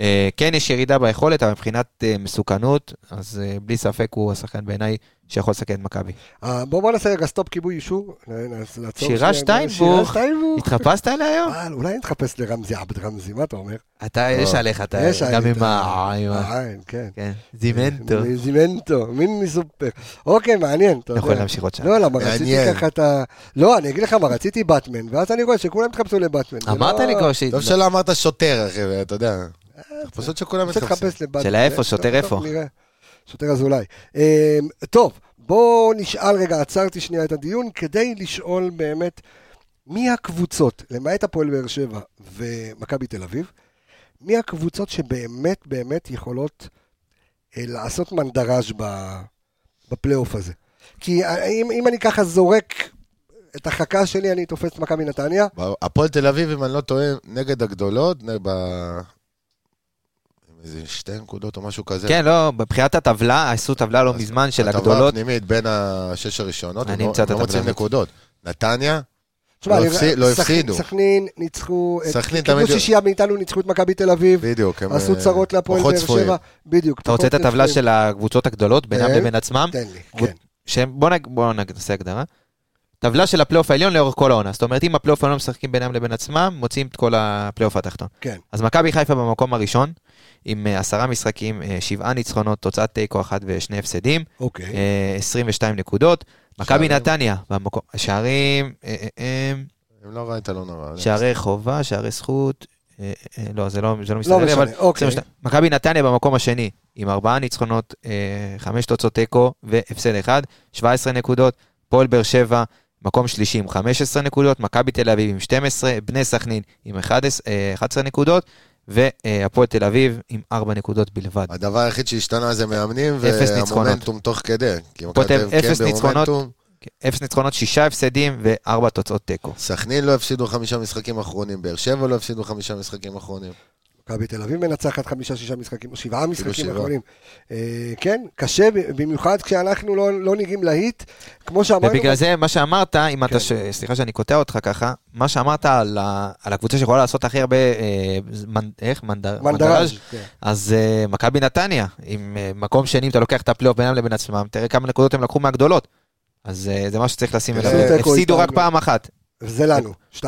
אה, כן, יש ירידה ביכולת, אבל מבחינת אה, מסוכנות, אז אה, בלי ספק הוא השחקן בעיניי שיכול לסכן את מכבי. אה, בואו בוא נעשה רגע סטופ כיבוי אישור. נ- נ- נעצור שירה שנייה. שירה שטיינבוך. שטיינבוך. התחפשת אליה היום? אה, אולי נתחפש לרמזי עבד רמזי, מה אתה אומר? אתה, יש עליך, אתה, יש גם עין, עם ה... עם ה- העין, כן. כן, זימנטו. זימנטו, מיני סופר. אוקיי, מעניין, אתה אתה יכול יודע. להמשיך עוד שעה. לא, למה רציתי מעניין. ככה את ה... לא, אני אגיד לך מה, רציתי באטמן, ואז אני רואה שכולם התחפשו לבאטמן. זה אמרת לא- לי כבר ש... טוב שלא אמרת שוטר, אחי, אתה יודע. אה, פשוט שכולם אני רוצה מתחפשים. לחפש לבד. של האיפה, שוטר טוב, איפה? טוב, נראה. שוטר אזולאי. אה, טוב, בואו נשאל רגע, עצרתי שנייה את הדיון, כדי לשאול באמת מי הקבוצות, למעט הפועל באר שבע ומכבי תל אביב, מי הקבוצות שבאמת באמת יכולות אה, לעשות מנדרז' ב- בפלייאוף הזה. כי אה, אם, אם אני ככה זורק את החכה שלי, אני תופס את מכבי נתניה. הפועל תל אביב, אם אני לא טועה, נגד הגדולות, נ- ב... עם איזה שתי נקודות או משהו כזה. כן, לא, מבחינת הטבלה, עשו טבלה לא מזמן של הטבלה הגדולות. הפנימית בין השש הראשונות, אני הם לא- אמצא את הם לא הטבלה מוצאים הזאת. נקודות. נתניה, תשמע, לא אני- הפסיד- לא סכנין- הפסידו. סכנין ניצחו, את- סכנין קיבלו תמיד- שישייה מאיתנו, ניצחו את מכבי תל אביב. בדיוק, הם... עשו אה, צרות להפועל פחות באר צפויים. שבע. בדיוק. אתה רוצה את פחות הטבלה צפויים. של הקבוצות הגדולות בינם אוקיי, כן. לבין עצמם? תן לי, גוד. כן. שהם, בוא נג- בוא נג- נעשה הגדרה. טבלה של הפלייאוף העליון לאורך כל העונה. זאת אומרת, אם הפלייאוף העליון משחקים בינם לבין עצמם, מוציאים את כל הפלייאוף התחתון. כן. אז מכבי חיפה במקום הראשון, עם אה, עשרה משחקים, אה, שבעה ניצחונות, תוצאת תיקו אחת ושני הפסדים. אוקיי. אה, 22 נקודות. מכבי שערים. נתניה, במקום, שערים, אה, אה, אה, אם לא ראית, לא נורא. שערי חובה, שערי זכות, אה, אה, לא, זה לא זה לא לא מסתדר לי, אבל... משנה, אוקיי. 22. מכבי נתניה במקום השני, עם ארבעה ניצחונות, אה, חמש תוצאות תיקו והפסד אחד, 17 נקודות, פועל באר שבע, מקום שלישי עם 15 נקודות, מכבי תל אביב עם 12, בני סכנין עם 11 אה, 11 נקודות, והפועל תל אביב עם 4 נקודות בלבד. הדבר היחיד שהשתנה זה מאמנים, אפס ניצחונות. והמומנטום תוך כדי. כי מכבי הפועל תל אביב אפס כן ניצחונות. במומנטום. אפס ניצחונות, שישה הפסדים וארבע תוצאות תיקו. סכנין לא הפסידו חמישה משחקים אחרונים, באר שבע לא הפסידו חמישה משחקים אחרונים. מכבי תל אביב מנצחת חמישה-שישה משחקים, או שבעה משחקים כאילו שבעה. האחרונים. אה, כן, קשה, ב- במיוחד כשאנחנו לא לא נראים להיט. כמו שאמרנו, ובגלל זה, מה שאמרת, אם כן. אתה, ש- סליחה שאני קוטע אותך ככה, מה שאמרת על ה- על הקבוצה שיכולה לעשות הכי הרבה, אה, מנ- איך? מנדר- מנדראז'. כן. אז אה, מכבי נתניה, עם אה, מקום שני, אם אתה לוקח את הפלייאוף בינם לבין עצמם, תראה כמה נקודות הם לקחו מהגדולות. אז אה, זה מה שצריך לשים כן, אליו. זה תיקו הפסידו רק איתנו. פעם אחת. זה לנו, 2-0.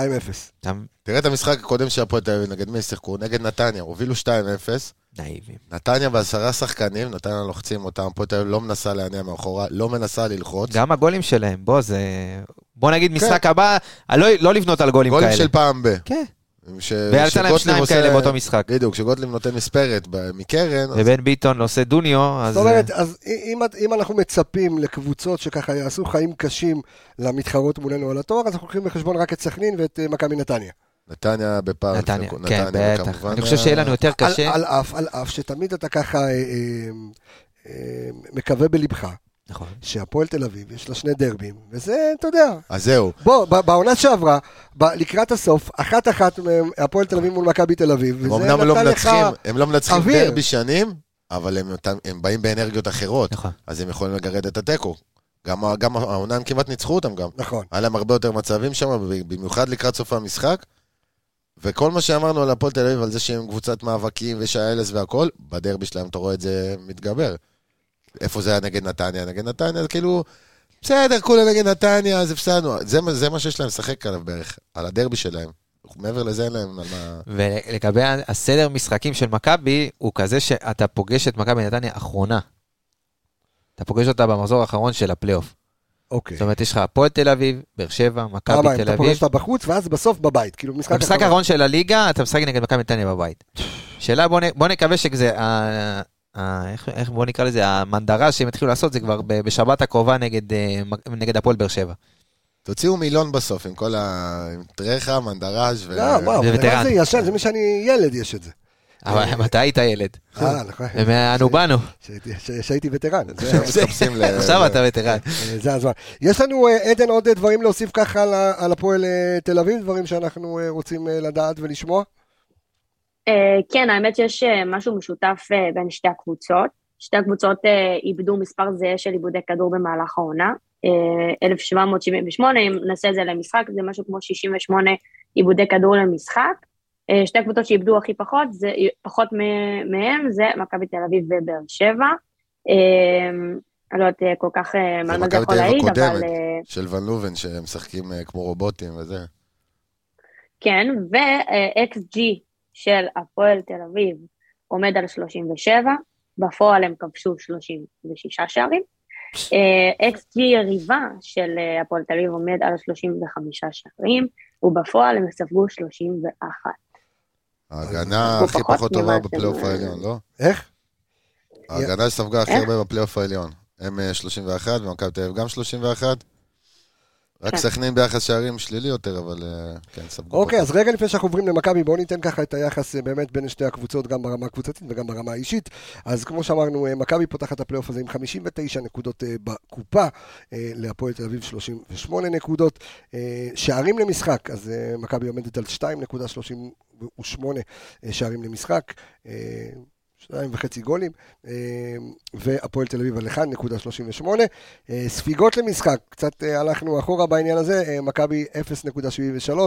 אתה תראה את המשחק הקודם של הפועל תל אביב, נגד מי שיחקו? נגד נתניה, הובילו 2-0. נאיבי. נתניה בעשרה שחקנים, נתניה לוחצים אותם, הפועל תל אביב לא מנסה להניע מאחורה, לא מנסה ללחוץ. גם הגולים שלהם, בוא, זה... בוא כן. נגיד משחק הבא, אה, לא- לא לבנות על גולים גולים כאלה. של פעם ב. כן, ש- והיה להם שגוטליב שניים עושה- אה, כאלה באותו משחק. בדיוק, כשגוטליב נותן מספרת ב- מקרן, אז ובן ביטון לא עושה דוניו, אז... זאת אומרת, אה, אז אם, אם אנחנו מצפים לקבוצות שככה יעשו חיים קשים למתחרות מולנו על התואר, אז אנחנו לוקחים בחשבון רק את סכנין ואת אה, מכבי נתניה. נתניה בפער. נתניה, לפני- כן, נתניה, בטח. וכמובן, אה, אני חושב שיהיה לנו יותר על, קשה. על אף, על אף שתמיד אתה ככה אה, אה, אה, מקווה בלבך נכון. שהפועל תל אביב יש לה שני דרבים, וזה, אתה יודע. אז זהו, בוא, ב- בעונה שעברה, ב- לקראת הסוף, אחת-אחת מהם, הפועל תל אביב מול מכבי תל אביב, הם וזה אמנם לא נתן לך- מנצחים, הם לא מנצחים אוויר. דרבי שנים, אבל הם אותם- הם באים באנרגיות אחרות, נכון. אז הם יכולים לגרד את התיקו. גם ה- גם העונה הם כמעט ניצחו אותם גם. נכון. היה להם הרבה יותר מצבים שם, במיוחד לקראת סוף המשחק. וכל מה שאמרנו על הפועל תל אביב, על זה שהם קבוצת מאבקים ושהאלס והכל, בדרבי שלהם אתה רואה את זה מתגבר. איפה זה היה נגד נתניה? נגד נתניה, זה כאילו, בסדר, כולה נגד נתניה, אז הפסדנו. זה, מה- זה מה שיש להם לשחק עליו בערך, על הדרבי שלהם. מעבר לזה אין להם על מה... ולגבי הסדר משחקים של מכבי, הוא כזה שאתה פוגש את מכבי נתניה אחרונה. אתה פוגש אותה במחזור האחרון של הפלייאוף. אוקיי. זאת אומרת, יש לך הפועל תל אביב, באר שבע, מכבי פעמיים, תל אתה פוגש אביב. אותה בחוץ, ואז בסוף בבית, כאילו משחק במשחק האחרון של הליגה, אתה משחק נגד מכבי נתניה בבית. שאלה, בוא נ- בוא נקווה שזה... ה- ה- איך- איך בוא נקרא לזה, המנדרה שהם התחילו לעשות זה כבר ב- בשבת הקרובה נגד, אה, מ- נגד הפועל באר שבע. תוציאו מילון בסוף עם כל ה... עם טרחה, מנדראז' ו... לא, וואו, זה אבל מה וטרן. זה ישן? זה מי שאני ילד יש את זה. אבל מתי היית ילד? אה, נכון. ואנו באנו. שהייתי- ש- שהייתי וטרן. זה- עכשיו מתחפשים ל... עכשיו אתה וטרן. אה, זה הזמן. יש לנו, אה, עדן, עוד אה, דברים להוסיף ככה על ה- על הפועל אה, תל אביב? דברים שאנחנו אה, רוצים אה, לדעת ולשמוע? אה, כן, האמת שיש אה, משהו משותף אה, בין שתי הקבוצות. שתי הקבוצות אה, איבדו מספר זהה של איבודי כדור במהלך העונה. אה, 1,778, אם נעשה את זה למשחק, זה משהו כמו 68 איבודי כדור למשחק. אה, שתי הקבוצות שאיבדו הכי פחות, זה, פחות מ- מהם, זה מכבי תל אביב ובאר שבע. אה, אני לא יודעת אה, כל כך אה, זה מה מה זה מכבי יכול תל אביב להעיד, אבל... הקודמת. אה, של ון לובן, שהם משחקים אה, כמו רובוטים וזה. כן, ו-XG של הפועל תל אביב עומד על 37, בפועל הם כבשו 36 שערים. אה, XG יריבה של אה, הפועל תל אביב עומד על 35 שערים, ובפועל הם ספגו 31. ההגנה הוא הכי פחות פחות טובה ממה בפלייאוף שהם- העליון, לא? איך? אה. ההגנה שספגה הכי איך? הרבה בפלייאוף העליון. הם אה, 31, ומכבי תל אביב גם 31. רק כן. סכנין ביחס שערים שלילי יותר, אבל אה, כן, ספגו. אוקיי, פחות. אז רגע לפני שאנחנו עוברים למכבי, בואו ניתן ככה את היחס אה, באמת בין שתי הקבוצות, גם ברמה הקבוצתית וגם ברמה האישית. אז כמו שאמרנו, אה, מכבי פותחת את הפלייאוף הזה עם 59 נקודות אה, בקופה, אה, להפועל תל אביב 38 נקודות. אה, שערים למשחק, אז אה, מכבי עומדת על 2.38 אה, שערים למשחק. אה, שניים וחצי גולים, אה, והפועל תל אביב על 1.38. אה, ספיגות למשחק, קצת אה, הלכנו אחורה בעניין הזה, אה, מכבי 0.73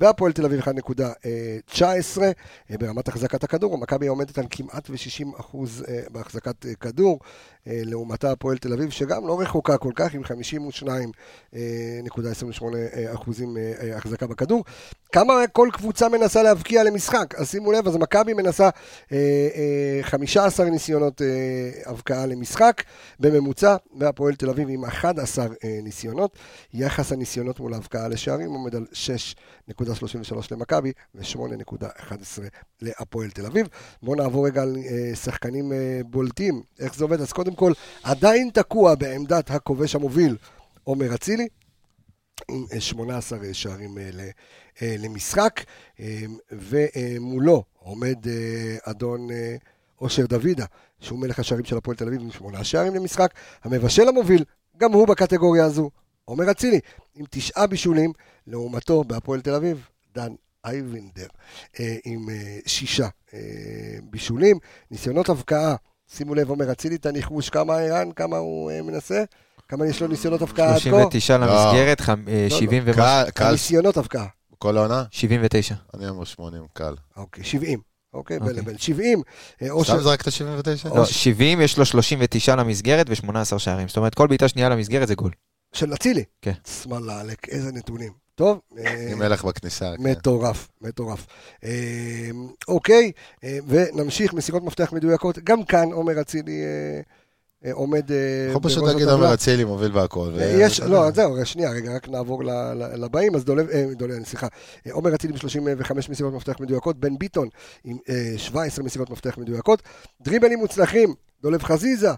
והפועל תל אביב 1.19 אה, ברמת החזקת הכדור, מכבי עומדת על כמעט ו-60 אחוז בהחזקת אה, כדור, אה, לעומתה הפועל תל אביב שגם לא רחוקה כל כך עם אה, 52.28 אה, אחוזים אה, אה, החזקה בכדור. כמה כל קבוצה מנסה להבקיע למשחק? אז שימו לב, אז מכבי מנסה אה, אה, 15 ניסיונות אה, הבקעה למשחק בממוצע, והפועל תל אביב עם 11 אה, ניסיונות. יחס הניסיונות מול ההבקעה לשערים עומד על 6.33 למכבי ו-8.11 להפועל תל אביב. בואו נעבור רגע על אה, שחקנים אה, בולטים. איך זה עובד? אז קודם כל, עדיין תקוע בעמדת הכובש המוביל, עומר אצילי. עם אה, 18 שערים אה, ל- אה, למשחק, אה, ומולו עומד אה, אדון אה, אושר דוידה, שהוא מלך השערים של הפועל תל אביב עם שמונה שערים למשחק. המבשל המוביל, גם הוא בקטגוריה הזו, עומר אצילי, עם תשעה בישולים, לעומתו בהפועל תל אביב, דן אייבנדר אה, עם אה, שישה אה, בישולים. ניסיונות הבקעה, שימו לב, עומר אצילי, תניחוש כמה ערן, כמה הוא אה, מנסה, כמה יש לו ניסיונות הבקעה עד כה? 39 למסגרת, חמ- אה, לא, לא. 70 ומשהו, לא. קל, קל, ניסיונות הבקעה. כל העונה? 79. אני אומר 80, קל. אוקיי, 70. אוקיי, בין אוקיי. לבין 70. אה, אושר- סתם זרקת 79? לא, 70, יש לו 39 למסגרת ו-18 שערים. זאת אומרת, כל בעיטה שנייה למסגרת זה גול. של אצילי. כן. שמאלה, עלק, איזה נתונים. טוב, אה, עם מלך בכניסה. כן. מטורף, מטורף. אה, אוקיי, אה, ונמשיך, מסירות מפתח מדויקות. גם כאן עומר אצילי אה, אה, עומד... אה, יכול פשוט בראש להגיד הטבלה. עומר אצילי מוביל בהכל. ו- יש, אתה לא, יודע. זהו, רגע, שנייה, רגע, רק נעבור ל- ל- לבאים, אז דולב, אה, דולב, סליחה, אה, עומר אצילי עם 35 מסירות מפתח מדויקות, בן ביטון עם אה, 17 מסירות מפתח מדויקות, דריבלים מוצלחים, דולב חזיזה,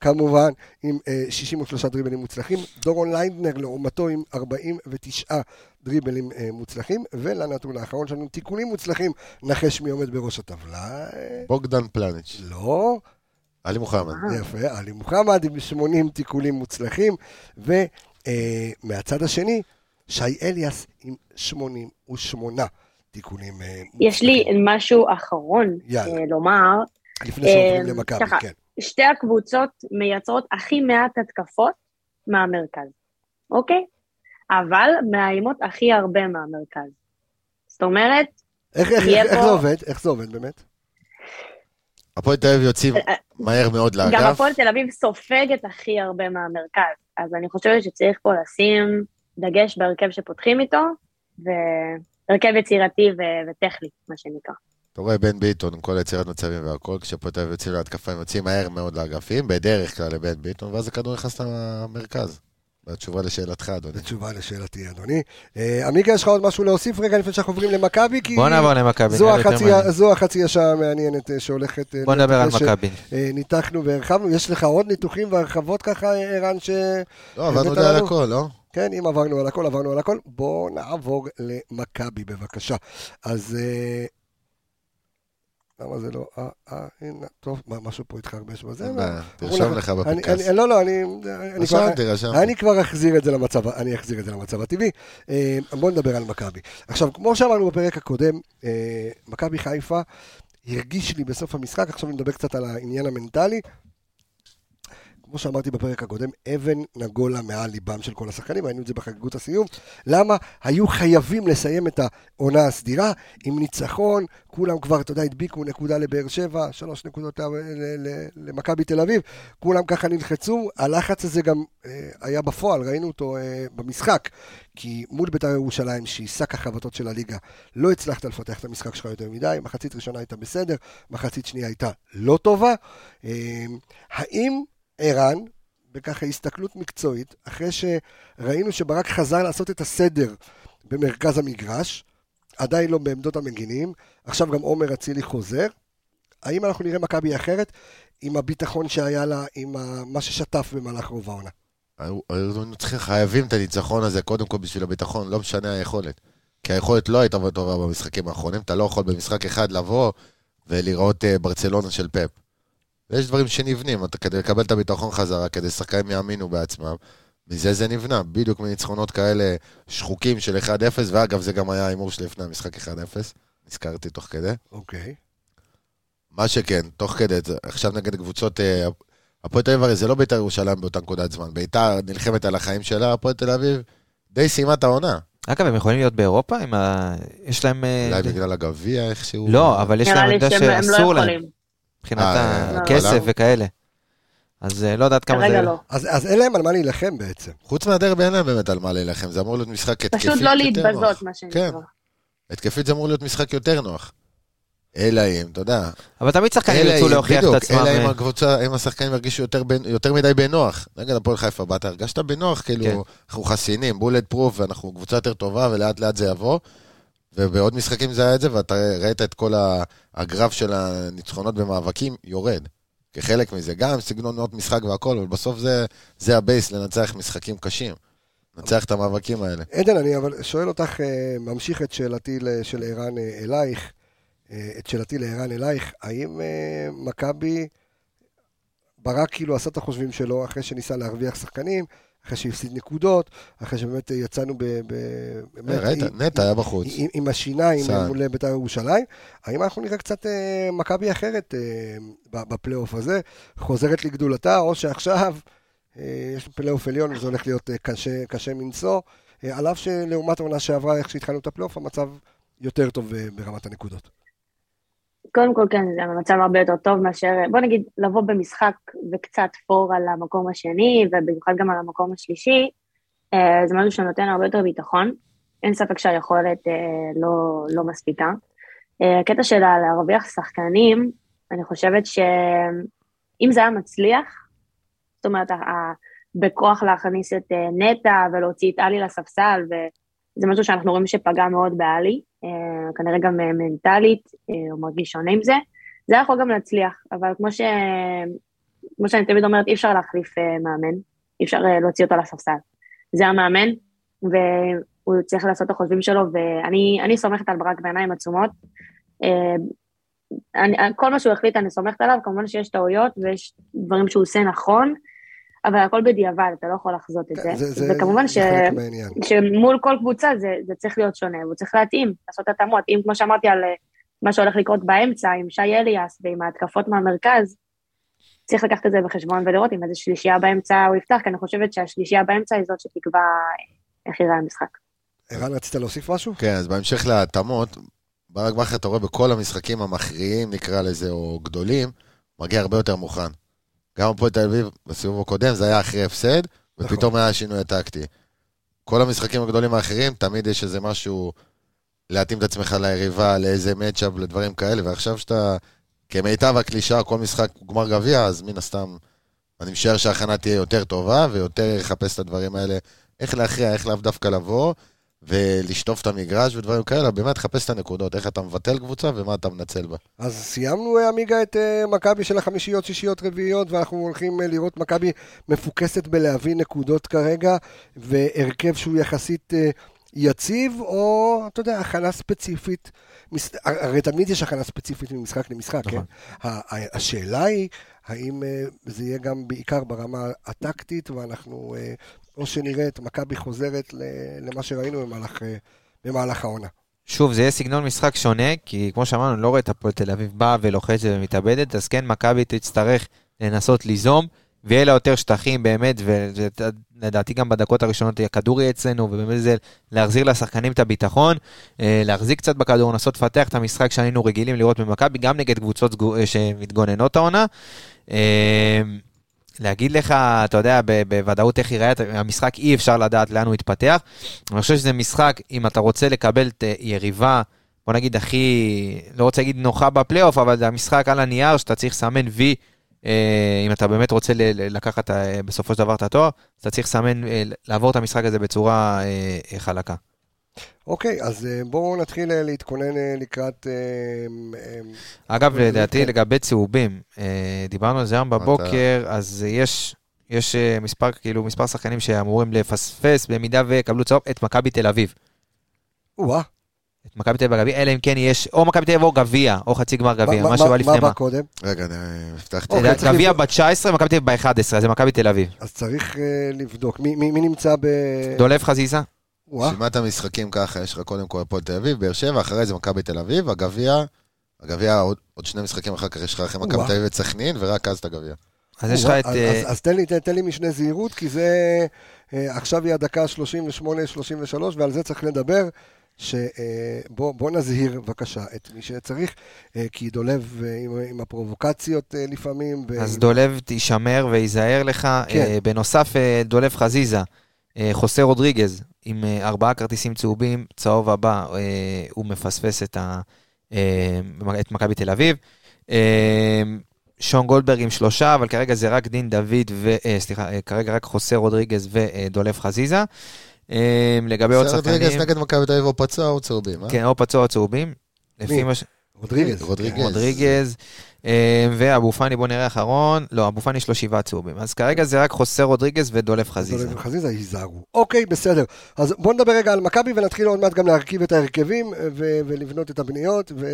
כמובן, עם אה, 63 דריבלים מוצלחים, דורון ליינדנר לעומתו עם 49 דריבלים אה, מוצלחים, ולנתון האחרון שלנו, תיקונים מוצלחים, נחש מי עומד בראש הטבלה, אה, בוגדן פלניץ', לא, עלי מוחמד. אה. יפה, עלי מוחמד עם 80 תיקולים מוצלחים, ומהצד השני, שי אליאס עם 88 תיקונים אה, מוצלחים. יש לי משהו אחרון יאללה. אה, לומר. לפני שעוברים אה, למכבי, ככה. כן. שתי הקבוצות מייצרות הכי מעט התקפות מהמרכז, אוקיי? אבל מאיימות הכי הרבה מהמרכז. זאת אומרת, איך, איך, יהיה איך, איך פה- זה עובד? איך זה עובד באמת? הפועל תל אביב יוצאים אה, מהר מאוד גם לאגף. הפועל תל אביב סופגת הכי הרבה מהמרכז, אז אני חושבת שצריך פה לשים דגש בהרכב שפותחים איתו, והרכב יצירתי ו- וטכני, מה שנקרא. אתה רואה בן ביטון עם כל היצירת מצבים והכל, כשהפועל תל אביב יוצאים להתקפה, הם יוצאים מהר מאוד לאגפים, בדרך כלל לבן ביטון, ואז הכדור נכנס למרכז. והתשובה לשאלתך, אדוני. זו תשובה לשאלתי, אדוני. אה, עמיקה, יש לך עוד משהו להוסיף רגע לפני שאנחנו עוברים למכבי? כי בוא נעבור למכבי. זו נראה לי יותר החצי- מעניין. זו החצי השעה המעניינת אה, שהולכת... אה, בוא נדבר על להיות אחרי מכבי. שניתחנו והרחבנו. יש לך עוד ניתוחים והרחבות ככה, אה, ערן, ש... לא, עברנו הבאת די על לנו? הכל, לא? כן, אם עברנו על הכל, עברנו על הכל. בואו נעבור למכבי, בבקשה. אז... אה, למה זה לא... אה, אה, הנה, טוב, מה- משהו פה התחרבש בזה. אין אבל- בעיה, אנחנו תרשום נח- לך אני- בפנקס. אני- לא, לא, אני... אני כבר- רשמתי, רשמתי. אני כבר אחזיר את זה למצב, אני אחזיר את זה למצב הטבעי. אה, בואו נדבר על מכבי. עכשיו, כמו שאמרנו בפרק הקודם, אה, מכבי חיפה הרגיש לי בסוף המשחק, עכשיו נדבר קצת על העניין המנטלי. כמו שאמרתי בפרק הקודם, אבן נגולה מעל ליבם של כל השחקנים, ראינו את זה בחגיגות הסיום. למה? היו חייבים לסיים את העונה הסדירה עם ניצחון, כולם כבר, אתה יודע, הדביקו נקודה לבאר שבע, שלוש נקודות ל- ל- ל- למכבי תל אביב, כולם ככה נלחצו, הלחץ הזה גם אה, היה בפועל, ראינו אותו אה, במשחק, כי מול בית"ר ירושלים, שהיא שק החבטות של הליגה, לא הצלחת לפתח את המשחק שלך יותר מדי, מחצית ראשונה הייתה בסדר, מחצית שנייה הייתה לא טובה. אה, האם ערן, בככה הסתכלות מקצועית, אחרי שראינו שברק חזר לעשות את הסדר במרכז המגרש, עדיין לא בעמדות המגינים, עכשיו גם עומר אצילי חוזר, האם אנחנו נראה מכבי אחרת עם הביטחון שהיה לה, עם ה- מה ששטף במהלך רוב העונה? היו- היינו צריכים, חייבים את הניצחון הזה, קודם כל בשביל הביטחון, לא משנה היכולת. כי היכולת לא הייתה טובה במשחקים האחרונים, אתה לא יכול במשחק אחד לבוא ולראות אה, ברצלונה של פאפ. ויש דברים שנבנים, אתה כדי לקבל את הביטחון חזרה, כדי ששחקנים יאמינו בעצמם, מזה זה נבנה, בדיוק מניצחונות כאלה שחוקים של 1-0, ואגב, זה גם היה ההימור שלי לפני המשחק 1-0, נזכרתי תוך כדי. אוקיי. מה שכן, תוך כדי, זה- עכשיו נגד קבוצות... אה, הפועל תל אביב הרי זה לא בית"ר ירושלים באותה נקודת זמן. בית"ר נלחמת על החיים שלה, הפועל תל אביב די סיימה את העונה. אגב, הם יכולים להיות באירופה? עם ה- יש להם... אה, אולי בגלל הגביע איכשהו. לא, אבל יש נראה להם לי עמדה שהם הם לא שאסור להם, יכולים. מבחינת אה, לא. הכסף לא. וכאלה. אז אה, לא יודעת כמה זה... כרגע לא. אז, אז אין להם על מה להילחם בעצם. חוץ מהדרבי אין להם באמת על מה להילחם, זה אמור להיות משחק התקפית פשוט לא יותר נוח. להתבזות, מה שנקרא. כן. התקפית זה אמור להיות משחק יותר נוח. אלא אם, אתה יודע. אבל תמיד שחקנים אלא ירצו אם, להוכיח את בדיוק, עצמם. אלא אם אה, הקבוצה, אם השחקנים ירגישו יותר בנ- יותר מדי בנוח. נגד הפועל חיפה באת, הרגשת בנוח, כן. כאילו, אנחנו חסינים, בולט פרוף, ואנחנו קבוצה יותר טובה, ולאט לאט זה יבוא. ובעוד משחקים זה היה את זה, ואתה ראית את כל ה- הגרף של הניצחונות במאבקים יורד. כחלק מזה, גם סגנון מאוד משחק והכל, אבל בסוף זה, זה הבייס לנצח משחקים קשים. לנצח את המאבקים האלה. עדן, אני אבל שואל אותך, אה, ממשיך את שאלתי ל- של ערן אה, אלייך, אה, את שאלתי לערן אלייך, האם אה, מכבי ברק כאילו עשה את החושבים שלו אחרי שניסה להרוויח שחקנים, אחרי שהפסיד נקודות, אחרי שבאמת אה, יצאנו ב... ב באמת ראית, עם- נטע היה בחוץ. עם, עם השיניים סעד. מול אה, בית"ר ירושלים. האם אנחנו נראה קצת אה, מכבי אחרת אה, ב- בפלייאוף הזה, חוזרת לגדולתה, או שעכשיו אה, יש פלייאוף עליון וזה הולך להיות אה, קשה, קשה מנשוא, אה, על אף שלעומת העונה שעברה, איך שהתחלנו את הפלייאוף, המצב יותר טוב אה, ברמת הנקודות. קודם כל, כן, זה המצב הרבה יותר טוב מאשר, בוא נגיד, לבוא במשחק וקצת פור על המקום השני, ובמיוחד גם על המקום השלישי, אה, זה משהו שנותן הרבה יותר ביטחון. אין ספק שהיכולת אה, לא, לא מספיקה. אה, הקטע שלה להרוויח שחקנים, אני חושבת שאם זה היה מצליח, זאת אומרת, ה- ה- בכוח להכניס את אה, נטע ולהוציא את עלי לספסל, וזה משהו שאנחנו רואים שפגע מאוד בעלי, אה, כנראה גם אה, מנטלית, אה, הוא מרגיש שונה עם זה. זה היה יכול גם להצליח, אבל כמו, ש... כמו שאני תמיד אומרת, אי אפשר להחליף אה, מאמן, אי אפשר אה, להוציא אותו לספסל. זה המאמן, והוא צריך לעשות את החושבים שלו, ואני אני סומכת על ברק בעיניים עצומות. אה, אני, כל מה שהוא החליט אני סומכת עליו, כמובן שיש טעויות ויש דברים שהוא עושה נכון, אבל הכל בדיעבד, אתה לא יכול לחזות את זה. וכמובן ש... כן, זה חלק מהעניין. שמול כל קבוצה זה, זה צריך להיות שונה, והוא צריך להתאים, לעשות התאמות. אם, כמו שאמרתי, על אה, מה שהולך לקרות באמצע, עם שי אליאס ועם ההתקפות מהמרכז, צריך לקחת את זה בחשבון ולראות אם איזה שלישייה באמצע הוא יפתח, כי אני חושבת שהשלישייה באמצע היא זאת שתקבע אה, איך יראה המשחק. ערן, רצית להוסיף משהו? כן, אז בהמשך להתאמות, ברק בכר, אתה רואה בכל המשחקים המכריעים, נקרא לזה, או גדולים, מגיע הרבה יותר מוכן. גם הפועל תל אביב, בסיבוב הקודם, זה היה אחרי הפסד, ופתאום היה השינוי הטקטי. כל המשחקים הגדולים האחרים, תמיד יש איזה משהו להתאים את עצמך ליריבה, לאיזה מצ'אפ, לדברים כאלה, ועכשיו שאתה, כמיטב הקלישאה, כל משחק הוא גמר גביע, אז מן הסתם, אני משער שההכנה תהיה יותר טובה, ויותר יחפש את הדברים האלה, איך להכריע, איך לאו דווקא לבוא, ולשטוף את המגרש ודברים כאלה, באמת תחפש את הנקודות, איך אתה מבטל קבוצה ומה אתה מנצל בה. אז סיימנו, אה, עמיגה, את אה, מכבי של החמישיות, שישיות, רביעיות, ואנחנו הולכים אה, לראות מכבי מפוקסת בלהביא נקודות כרגע, והרכב שהוא יחסית אה, יציב, או, אתה יודע, הכנה ספציפית. מס... הרי תמיד יש הכנה ספציפית ממשחק למשחק, כן? נכון. ה- ה- השאלה היא, האם אה, זה יהיה גם בעיקר ברמה הטקטית, ואנחנו, אה, או שנראה את מכבי חוזרת ל- למה שראינו במהלך, אה, במהלך העונה. שוב, זה יהיה סגנון משחק שונה, כי כמו שאמרנו, אני לא רואה את הפועל תל אביב באה ולוחצת ומתאבדת, אז כן, מכבי תצטרך לנסות ליזום, ויהיה לה יותר שטחים באמת, ולדעתי גם בדקות הראשונות הכדור יהיה אצלנו, ובאמת זה להחזיר לשחקנים את הביטחון, אה, להחזיק קצת בכדור, לנסות לפתח את המשחק שהיינו רגילים לראות במכבי, גם נגד קבוצות סגו- אה, שמתגוננות העונה. אה, להגיד לך, אתה יודע, ב- בוודאות איך ייראה את המשחק, אי אפשר לדעת לאן הוא יתפתח. אני חושב שזה משחק, אם אתה רוצה לקבל את אה, יריבה, בוא נגיד הכי, לא רוצה להגיד נוחה בפלייאוף, אבל זה המשחק על הנייר שאתה צריך לסמן וי, אה, אם אתה באמת רוצה ל- ל- לקחת אה, בסופו של דבר את התואר, אז אתה צריך לסמן, אה, לעבור את המשחק הזה בצורה אה, אה, חלקה. אוקיי, אז אה, בואו נתחיל אה, להתכונן אה, לקראת... אה, אה, אגב, לדעתי, כן. לגבי צהובים, אה, דיברנו על זה היום בבוקר, אז יש... יש אה, מספר, כאילו, מספר שחקנים שאמורים לפספס במידה ויקבלו צהוב את מכבי תל אביב. או-אה, את מכבי תל אביב בגביע, אלא אם כן יש, או מכבי תל אביב או גביע, או חצי גמר מה- גביע, מה- מה שבא מה- לפני מה אוקיי, מה. בא קודם? רגע, אני הבטחתי. אוקיי, צריך גביע לבדוק. ב-19, מכבי תל אביב ב-11, זה מכבי תל אביב. אז צריך אה, לבדוק. מי- מי מי נמצא ב... דולב חזיזה? או-אה, רשימת המשחקים ככה, יש לך קודם כל הפועל תל אביב, באר שבע, אחרי זה מכבי תל אביב, הגביע, הגביע עוד, עוד שני משחקים אחר כך יש לך אחרי מכבי וואו. תל אביב את סכנין, ורק אז את הגביע. אז יש לך או-אה, את... אז- אה, אז- אז תן לי- תן- תן לי משנה זהירות, כי זה... אה, עכשיו היא הדקה 38-33, ועל זה צריך לדבר. שבוא נזהיר בבקשה את מי שצריך, אה, כי דולב אה, עם- עם הפרובוקציות אה, לפעמים. ו- אז דולב תישמר וייזהר לך. כן. אה, בנוסף, אה, דולב חזיזה, אה, חוסה רודריגז, עם אה, ארבעה כרטיסים צהובים, צהוב הבא, אה, הוא מפספס את ה- אה, את מכבי תל אביב. אה, שון גולדברג עם שלושה, אבל כרגע זה רק דין דוד, ו... אה, סליחה, אה, כרגע רק חוסה רודריגז ודולב חזיזה. אה, לגבי עוד בסדר, שחקנים... רודריגז נגד מכבי תל אביב או פצוע או צהובים, אה? כן, או פצוע או צהובים. מי? לפי מה ש... רודריגז. רודריגז. רודריגז. אה, ואבו פאני, בוא נראה אחרון. לא, אבו פאני יש לו שבעה צהובים. אז כרגע זה רק חוסר רודריגז ודולף חזיזה. דולב חזיזה ייזהרו. אוקיי, בסדר. אז בואו אה, נדבר רגע על מכבי ונתחיל עוד מעט גם להרכיב את ההרכבים ו- ולבנות את הבניות ו...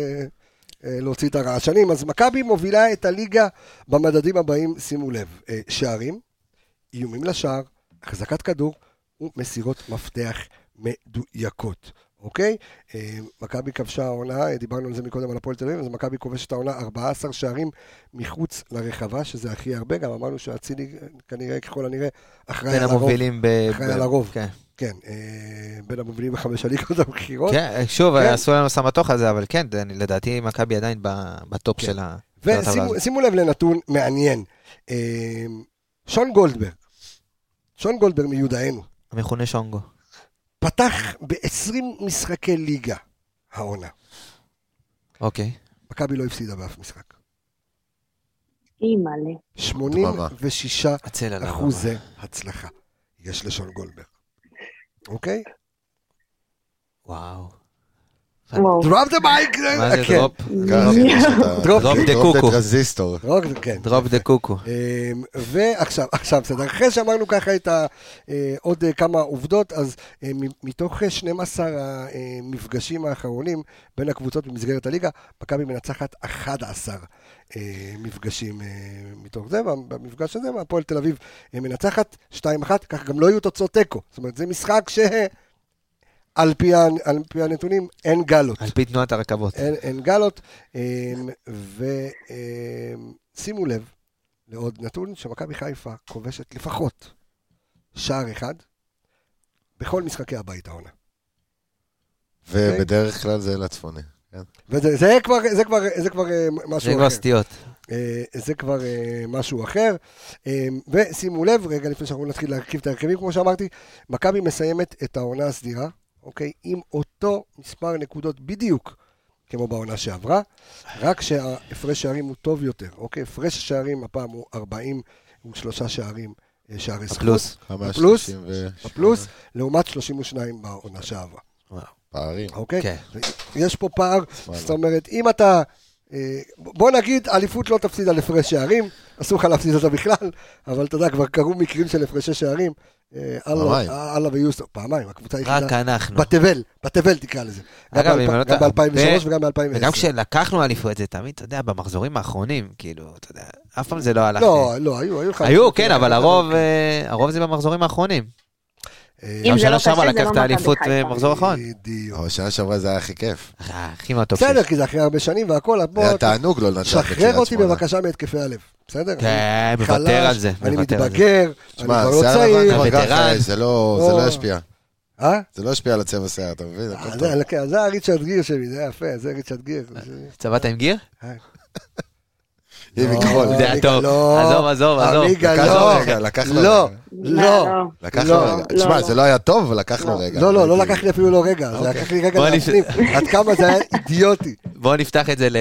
אה, להוציא את הרעשנים. אז מכבי מובילה את הליגה במדדים הבאים, שימו לב, אה, שערים, איומים לשער, החזקת כדור ומסירות מפתח מדויקות. אוקיי? אה, מכבי כבשה העונה, אה, דיברנו על זה מקודם על הפועל תל אביב, אז מכבי כובשת העונה 14 שערים מחוץ לרחבה, שזה הכי הרבה, גם אמרנו שאצילי אה, כנראה, ככל הנראה, אחראי בין על הרוב. המובילים ב... אחראי ב- על הרוב. כן. כן, אה, בין המובילים בחמש הליגות הבכירות. כן, שוב, כן. עשו לנו סמטוח על זה, אבל כן, זה- לדעתי מכבי עדיין ב- בטופ כן. של ה... של הטבלה הזאת. ושימו לב לנתון מעניין. אה, שון גולדברג, שון גולדברג מיודענו, המכונה שונגו. פתח ב-20 משחקי ליגה העונה. אוקיי. מכבי לא הפסידה באף משחק. אימא'לה. 86 הצל עליו. אחוזי הצלחה יש לשון גולדברג. אוקיי? וואו. וואו. דרופ דה מייק! מה זה כן. דרופ? ככה, יש את ה- דרופ דרופ דה דרופ דה קוקו. טרנזיסטור. דרופ, כן. דרופ דה קוקו. אמ, ועכשיו, עכשיו, בסדר, אחרי שאמרנו ככה את ה, אה, עוד אה, כמה עובדות, אז אה, מ- מתוך אה, 12 המפגשים האחרונים בין הקבוצות במסגרת הליגה, מכבי מנצחת 11 אה, מפגשים אה, מתוך זה, במפגש הזה, והפועל תל אביב אה, מנצחת 2-1, כך גם לא יהיו תוצאות תיקו. זאת אומרת, זה משחק ש... על פי, ה- על פי הנתונים, אין גלות. על פי תנועת הרכבות. אין, אין גלות. ושימו לב לעוד נתון, שמכבי חיפה כובשת לפחות שער אחד בכל משחקי הבית העונה. ובדרך כלל זה לצפוני. וזה זה כבר, זה כבר, זה כבר אה, זה משהו כבר אחר. סטיות. אה, זה כבר אה, משהו אחר. אה, ושימו לב, רגע לפני שאנחנו נתחיל להרכיב את ההרכבים, כמו שאמרתי, מכבי מסיימת את העונה הסדירה, אוקיי? עם אותו מספר נקודות בדיוק כמו בעונה שעברה, רק שההפרש שערים הוא טוב יותר, אוקיי? הפרש השערים הפעם הוא 43 שערים, אה, שערי זכות. הפלוס. כמה בפלוס? 30 ו... הפלוס, לעומת 32 בעונה שעברה, פערים. אוקיי? כן. יש פה פער, וואלה. זאת אומרת, אם אתה... אה, בוא נגיד, אליפות לא תפסיד על הפרש שערים, אסור לך להפסיד אותה בכלל, אבל אתה יודע, כבר קרו מקרים של הפרשי שערים. אה, אללה- פעמיים. אללה ויוסטון, פעמיים, הקבוצה היחידה. רק אנחנו. בתבל, בתבל תקרא לזה. גם אגב, אם אני לא ב- גם טועה, ב-2003 הרבה- וגם ב-2010. וגם כשלקחנו אליפות זה תמיד, אתה יודע, במחזורים האחרונים, כאילו, אתה יודע, אף פעם זה לא הלך. לא, לא, היו, היו לך... היו, כן, אבל הרוב, אה, הרוב זה במחזורים האחרונים. אה, אם גם זה לא שנה קשה, שעברה זה לא לקחת מכבי אליפות חיפה. במחזור האחרון. בדיוק. אבל שנה שעברה זה היה הכי כיף. אחי, הכי מה טוב שיש. בסדר, כי זה אחרי הרבה שנים והכל, אז בוא... זה היה תענוג לא לנצח בקריית שמונה. שחרר אותי בבקשה מהתקפי הלב, בסדר? כן, אני מוותר חלש, על זה, אני מוותר על זה. מתבגר, אני שמע, כבר לא שיער לבן צעיר. כבר הווטרן. ככה, זה לא זה או. לא ישפיע. אה? זה לא ישפיע על הצבע שיער, אתה מבין? הכל אה, טוב. זה- כן, זה הריצ'רד גיר שלי, זה יפה, זה ריצ'רד גיר. אה, זה- צבעת עם גיר? אה. היא לא, מכחול. זה היה עמיגה, טוב. לא. עזוב, עזוב, עזוב. עמיגה, לקח לא. לו רגע, לקח לו לא, רגע. לא. לא. לקחנו לא, רגע. לא, תשמע, לא. זה לא היה טוב, אבל לקחנו רגע. כאילו, לא, לא, לא הייתי- לקח לי אפילו לא רגע, זה אוקיי. לקח לי רגע בוא להפנים, עד כמה זה היה אידיוטי. בואו נפתח את זה ל-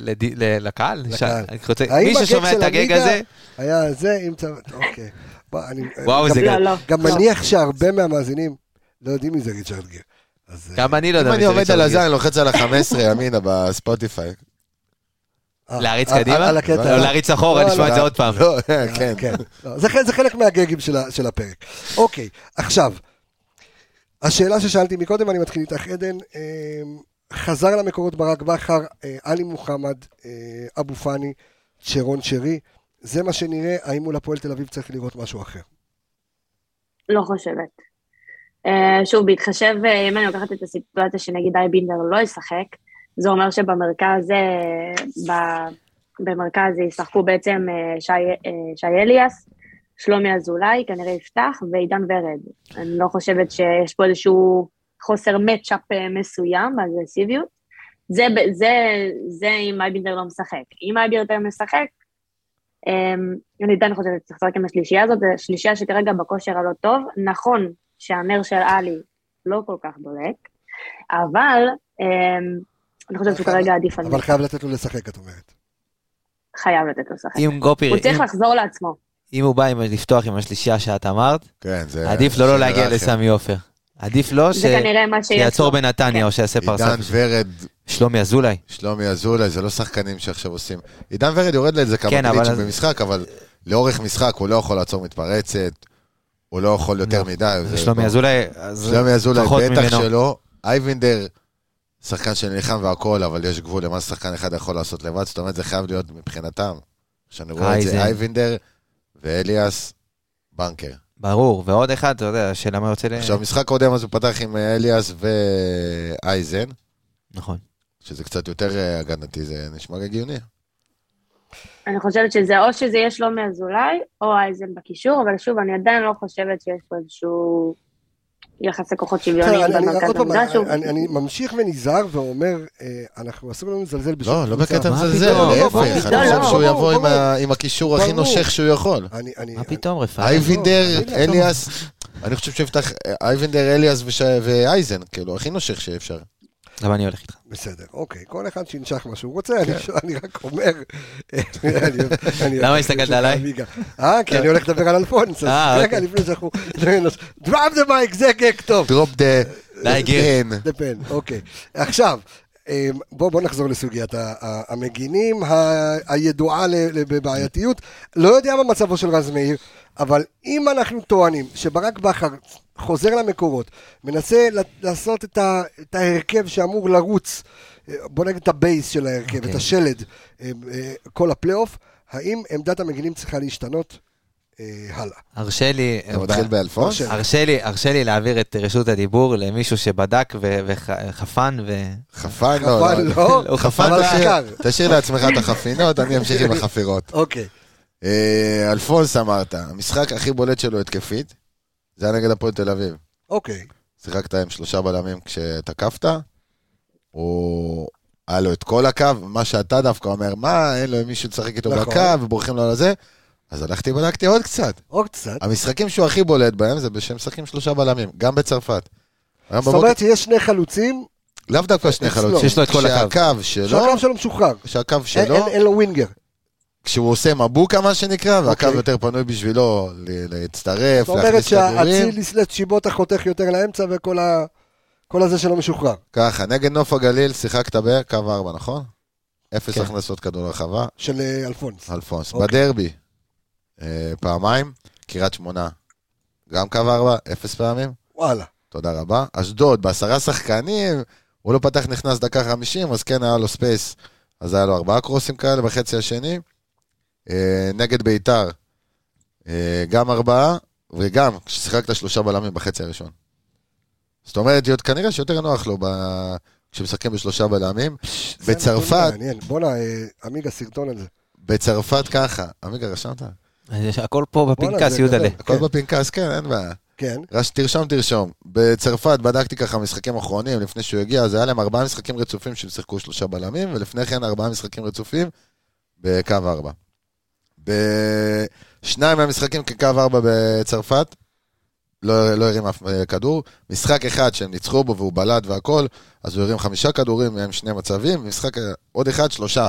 לד- ל- לקהל. לקהל. אני רוצה- האם מי הגג ששומע של את הגג עמיגה הזה, היה זה, אם צריך, אוקיי. בוא, אני- וואו, גם- זה לא, גדול. לא. גם מניח שהרבה מהמאזינים לא יודעים מי זה ריצ'רד גיר. אז, אה, גם אני לא יודע. אם מי אני זה עובד ריצ'רד על גיר. הזר, אני לוחץ על ה-15 ימינה בספוטיפיי. אה, להריץ על- קדימה? על הקטע. לא, להריץ אחורה, לא, לשמוע את זה עוד פעם. לא, כן. כן. לא, זה חלק- זה חלק מהגגים של ה- של הפרק. אוקיי, עכשיו, השאלה ששאלתי מקודם, אני מתחיל איתך, עדן, אה, חזר למקורות ברק בכר, אה, עלי מוחמד, אה, אבו פאני, שרון שרי, זה מה שנראה, האם מול הפועל תל אביב צריך לראות משהו אחר. לא חושבת. אה, שוב, בהתחשב, אה, אם אני לוקחת את הסיטואציה שנגיד אי בינדר לא ישחק, זה אומר שבמרכז, אה, ב- במרכז ישחקו בעצם אה, שי- אה, שי אליאס, שלומי אזולאי, כנראה יפתח, ועידן ורד. אני לא חושבת שיש פה איזשהו חוסר מצ'אפ אה, מסוים, באגרסיביות. זה, ב- זה, זה אם אייבינדר לא משחק. אם אייבינדר משחק, אמ, אני עדיין חושבת שצריך לשחק עם השלישייה הזאת, זו שלישייה שכרגע בכושר הלא טוב. נכון שהנר של עלי לא כל כך בולט, אבל אמ, אני חושבת שהוא כרגע עדיף על אבל זה. חייב לתת לו לשחק, את אומרת. חייב לתת לו לשחק. אם גופי, הוא צריך אם- לחזור לעצמו. אם הוא בא עם- לפתוח עם השלישייה שאת אמרת, כן, זה... עדיף לו לא שאלה להגיע אחרת. לסמי עופר. עדיף לו ש- זה כנראה מה שיש לו. שיעצור בנתניה או שיעשה פרסה. עידן ורד, שלומי אזולאי. שלומי אזולאי, זה לא שחקנים שעכשיו עושים. עידן ורד יורד לאיזה כמה כן, אבל קליצ'ים אז- במשחק, אבל לאורך משחק הוא לא יכול לעצור מתפרצת, הוא לא יכול יותר לא. מדי. זה שלומי ברור. אזולאי, אז שלומי אזולאי, פחות בטח ממנו. שלא. אייבינדר שחקן שנלחם והכול, אבל יש גבול למה ששחקן אחד יכול לעשות לבד, זאת אומרת, זה חייב להיות מבחינתם. כשאני רואה את אייזן. זה אייבינדר ואליאס בנקר. ברור, ועוד אחד, אתה יודע, השאלה מה יוצא ל... עכשיו, משחק קודם אז הוא פתח עם אה, אליאס ואייזן, נכון. שזה קצת יותר אה, הגנתי, זה נשמע הגיוני. אני חושבת שזה או שזה יהיה שלומי אזולאי, או אייזן בקישור, אבל שוב, אני עדיין לא חושבת שיש פה איזשהו יחסי כוחות שוויוניים לא, אני- אני- עוד במרכז פעם, המגרש. הוא- אני- אני אני ממשיך ונזהר ואומר, אה, אנחנו אסור לנו לזלזל בשום לא, לא בקטע מה מזלזל, פתאום? להפך, ברור, אני לא, חושב לא, שהוא ברור, יבוא עם ברור. ה- עם הקישור הכי ברור. נושך שהוא יכול. אני, אני, מה פתאום, רפאל? אייבינדר, לא, לא. אליאס, אני חושב שיפתח, אייבינדר, אליאס וש- ואייזן, כאילו, הכי נושך שאפשר. אבל אני הולך איתך. בסדר, אוקיי, כל אחד שינשך מה שהוא רוצה, אני, אני רק אומר... אני- אני- למה הסתכלת עליי? הליגה. אה, כי אני הולך לדבר על אלפונס, אז אה, רגע אוקיי. לפני שאנחנו... דראפ דה מייק, זה גג טוב. דרופ דה... די, גיר. כן. דה פן, אוקיי. עכשיו, אה, בוא בוא נחזור לסוגיית ה- ה- המגינים ה- הידועה ל- ל- בבעייתיות. לא יודע מה מצבו של רז מאיר, אבל אם אנחנו טוענים שברק בכר חוזר למקורות, מנסה ל- לעשות את ה- את ההרכב שאמור לרוץ, אה, בוא נגיד את הבייס של ההרכב, אוקיי. את השלד, אה, אה, כל הפלייאוף, האם עמדת המגינים צריכה להשתנות אה, הלאה? הרשה לי... אתה מתחיל באלפונס? משה. הרשה לי, הרשה לי להעביר את רשות הדיבור למישהו שבדק ו- וחפן ו... חפן? לא, אבל לא. לא, לא, חפן אבל תשאיר- חקר. תשאיר לעצמך את החפינות, אני אמשיך עם החפירות. אוקיי. אה, אלפונס אמרת, המשחק הכי בולט שלו התקפית, זה היה נגד הפועל תל אביב. אוקיי. שיחקת עם שלושה בלמים כשתקפת, הוא... היה לו את כל הקו, מה שאתה דווקא אומר, מה, אין לו מישהו לשחק איתו נכון. בקו, ובורחים לו על הזה, אז הלכתי ובדקתי עוד קצת. עוד קצת. המשחקים שהוא הכי בולט בהם זה שהם משחקים שלושה בלמים, גם בצרפת. היום זאת בבוקר, אומרת שיש שני חלוצים, לאו דווקא שני אצלו. חלוצים, שיש לו את כל הקו. שהקו שלו, שהקו שלו משוחרר. שהקו אין- שלו, אין אין לו ווינגר. כשהוא עושה מבוקה מה שנקרא, והקו אוקיי. יותר פנוי בשבילו ל- להצטרף, זאת אומרת להכניס כדורים. שהאציל יסלט שיבוטה חותך יותר לאמצע וכל ה... כל הזה שלא משוחרר. ככה, נגד נוף הגליל שיחקת בקו 4, נכון? אפס כן. הכנסות כדור רחבה, של אה, אלפונס. אלפונס. אוקיי. בדרבי, אה, פעמיים, קריית שמונה, גם קו 4, אפס פעמים, וואלה. תודה רבה. אשדוד, בעשרה שחקנים, הוא לא פתח נכנס דקה 50, אז כן היה לו ספייס, אז היה לו ארבעה קרוסים כאלה בחצי השני. אה, נגד ביתר, אה, גם ארבעה, וגם כששיחקת שלושה בלמים בחצי הראשון. זאת אומרת, להיות- כנראה שיותר נוח לו ב... כשמשחקים בשלושה בלמים. זה נתון בצרפת, מעניין. בואנה, אה, עמיגה, סרטון על זה. בצרפת ככה. עמיגה, רשמת? אז הכל פה וואלה, בפנקס, זה יהודלה. גדול. הכל כן. בפנקס, כן, אין בעיה. כן. רש, תרשום, תרשום. בצרפת בדקתי ככה משחקים אחרונים, לפני שהוא הגיע, אז היה להם ארבעה משחקים רצופים שהם שיחקו שלושה בלמים, ולפני כן ארבעה משחקים רצופים בקו ארבע. בשניים מהמשחקים כקו ארבע בצרפת, לא, לא הרים אף אה, כדור. משחק אחד שהם ניצחו בו והוא בלט והכל, אז הוא הרים חמישה כדורים, מהם שני מצבים, משחק אה, עוד אחד, שלושה.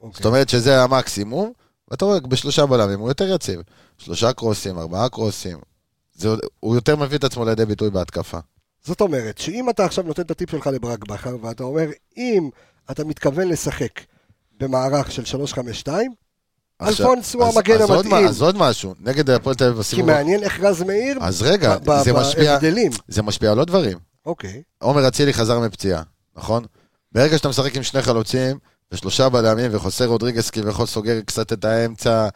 אוקיי. זאת אומרת שזה המקסימום, ואתה רואה, בשלושה בלמים הוא יותר יציב. שלושה קרוסים, ארבעה קרוסים. זה, עוד- הוא יותר מביא את עצמו לידי ביטוי בהתקפה. זאת אומרת, שאם אתה עכשיו נותן את הטיפ שלך לברק בכר, ואתה אומר, אם אתה מתכוון לשחק במערך של 3-5-2, עכשיו, אלפונס הוא אז- המגן אז עוד המתאים. מה- אז עוד משהו, נגד הפועל תל אביב כי בסיבוב... מעניין איך רז מאיר, אז רגע, ב- ב- זה משפיע- בהבדלים. זה משפיע על עוד דברים. אוקיי. עומר אצילי חזר מפציעה, נכון? ברגע שאתה משחק עם שני חלוצים ושלושה בלמים וחוסה רודריגס כביכול סוגר קצת את האמצע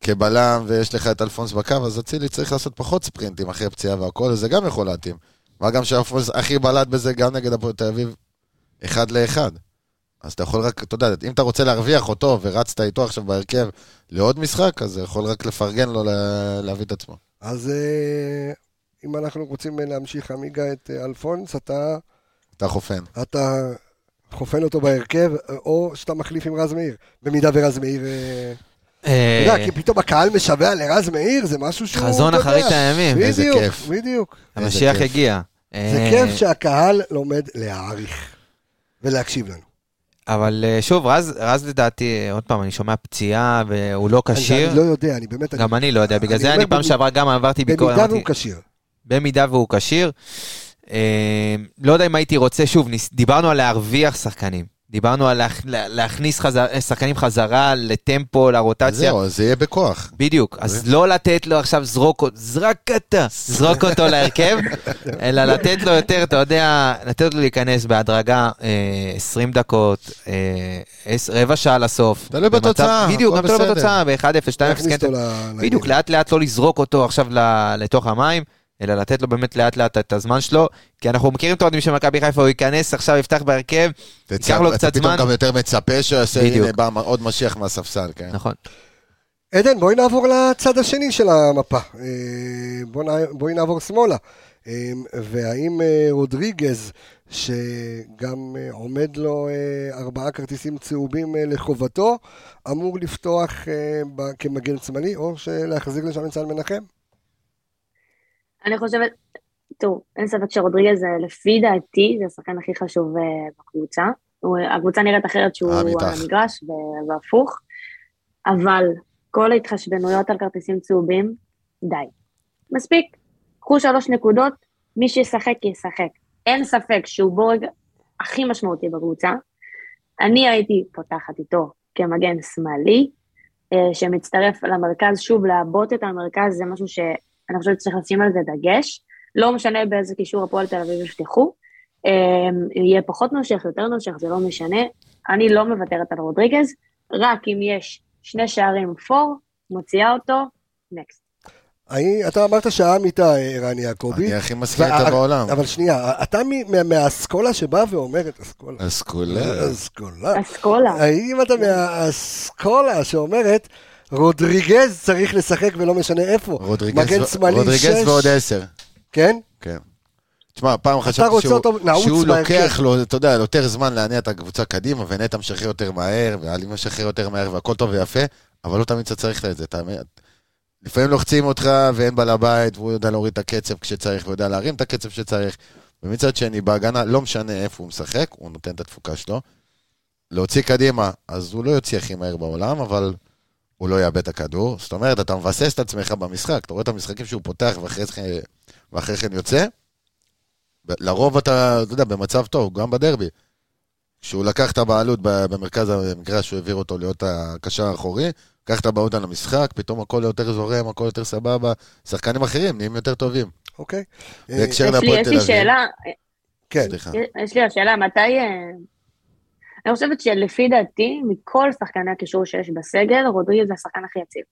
כבלם ויש לך את אלפונס בקו, אז אצילי צריך לעשות פחות ספרינטים אחרי פציעה והכל, אז זה גם יכול להתאים. מה גם שאלפונס הכי בלט בזה גם נגד הפועל תל אביב, אחד לאחד. אז אתה יכול רק, אתה יודע, אם אתה רוצה להרוויח אותו ורצת איתו עכשיו בהרכב לעוד משחק, אז זה יכול רק לפרגן לו לה- להביא את עצמו. אז אה, אם אנחנו רוצים אה, להמשיך, עמיגה, את אה, אלפונס, אתה... אתה חופן. אתה חופן אותו בהרכב, או שאתה מחליף עם רז מאיר. במידה ורז מאיר... אה, אתה אה, יודע, כי פתאום הקהל משווע לרז מאיר, זה משהו שהוא... חזון אתה יודע, אחרית הימים. איזה בדיוק, כיף. בדיוק. איזה המשיח כיף. הגיע. זה אה, כיף שהקהל לומד להעריך ולהקשיב לנו. אבל אה, שוב, רז, רז לדעתי, אה, עוד פעם, אני שומע פציעה והוא לא אני- כשיר. אני לא יודע, אני באמת... גם אני לא יודע, בגלל אני זה אומר אני פעם במ- שעברה גם עברתי ביקורת. במידה אמרתי, והוא כשיר. במידה והוא כשיר. אה, לא יודע אם הייתי רוצה, שוב, ניס- דיברנו על להרוויח שחקנים. דיברנו על להכ- לה- להכניס חזר- שחקנים חזרה לטמפו, לרוטציה. זהו, אז זה יהיה בכוח. בדיוק, אז לא לתת לו עכשיו זרוק, אותו- זרק אתה, זרוק אותו להרכב, אלא לתת לו יותר, אתה יודע, לתת לו להיכנס בהדרגה אה, 20 דקות, אה, עש- רבע שעה לסוף. תלוי במצב- בתוצאה, בדיוק, גם הכל תלוי בסדר. בתוצאה, ב-1-0, 2-0, להכניס כן, אותו ל- בדיוק, לאט לאט לא לזרוק אותו עכשיו ל- לתוך המים, אלא לתת לו באמת לאט לאט את הזמן שלו, כי אנחנו מכירים את האוהדים של מכבי חיפה, הוא ייכנס עכשיו, יפתח בהרכב, ייקח לו קצת אתה פתאום זמן. גם יותר מצפה שהוא יעשה, בדיוק. הנה בא מ- עוד משיח מהספסל, כן? נכון. עדן, בואי נעבור לצד השני של המפה. אה, בוא נע- בואי נעבור שמאלה. אה, והאם אה, רודריגז, שגם אה, עומד לו אה, ארבעה כרטיסים צהובים אה, לחובתו, אמור לפתוח אה, ב- כמגן שמאלי, או להחזיר לשם את סן מנחם? אני חושבת, תראו, אין ספק שרודריגז, זה, לפי דעתי, זה השחקן הכי חשוב אה, בקבוצה. הוא- הקבוצה נראית אחרת שהוא אני על איתך. המגרש ו- והפוך, אבל כל ההתחשבנויות על כרטיסים צהובים, די. מספיק, קחו שלוש נקודות, מי שישחק ישחק. אין ספק שהוא בורג הכי משמעותי בקבוצה. אני הייתי פותחת איתו כמגן שמאלי, אה, שמצטרף למרכז, שוב, לעבות את המרכז זה משהו שאני חושבת שצריך לשים על זה דגש. לא משנה באיזה קישור הפועל תל אביב יפתחו, אה, יהיה פחות נושך, יותר נושך, זה לא משנה. אני לא מוותרת על רודריגז, רק אם יש שני שערים פור, מוציאה אותו, נקסט. האם- אתה אמרת שהעם איתה, אה, רן יעקבי. אני הכי מסכים אבל- איתה בעולם. אבל שנייה, אתה מ- מה- מהאסכולה שבאה ואומרת, אסכולה. אז כולה. אסכולה. אה, אסכולה. האם אתה מהאסכולה שאומרת, רודריגז צריך לשחק ולא משנה איפה? רודריגז מגן ו- שמאלי, שש. רודריגז ועוד עשר. כן? כן. תשמע, פעם חשבתי רוצה שהוא, אותו נעוץ שהוא בהרכב. לוקח לו, אתה יודע, יותר זמן להניע את הקבוצה קדימה, ונטע משחרר יותר מהר, ואלי משחרר יותר מהר, והכל טוב ויפה, אבל לא תמיד אתה צריך את זה, אתה מבין? לפעמים לוחצים אותך ואין בעל הבית, והוא יודע להוריד את הקצב כשצריך, ויודע להרים את הקצב כשצריך. ומצד שני, בהגנה, לא משנה איפה הוא משחק, הוא נותן את התפוקה שלו. להוציא קדימה, אז הוא לא יוציא הכי מהר בעולם, אבל הוא לא יאבד את הכדור. זאת אומרת, אתה מבסס את עצמך במשחק, אתה רואה את המשחקים שהוא פותח ואחרי זה- ואחרי כן יוצא, ב- לרוב אתה, אתה יודע, במצב טוב, גם בדרבי. כשהוא לקח את הבעלות ב- במרכז המגרש, הוא העביר אותו להיות הקשר האחורי, לקח את הבעלות על המשחק, פתאום הכל יותר זורם, הכל יותר סבבה, שחקנים אחרים נהיים יותר טובים. אוקיי. אה, בהקשר יש לי, להפועל יש תל לי אביב. אה. שאלה, כן. סליחה. יש לי השאלה, מתי... אה, אני חושבת שלפי דעתי, מכל שחקני הקישור שיש בסגל, רודריגז זה השחקן הכי יציב.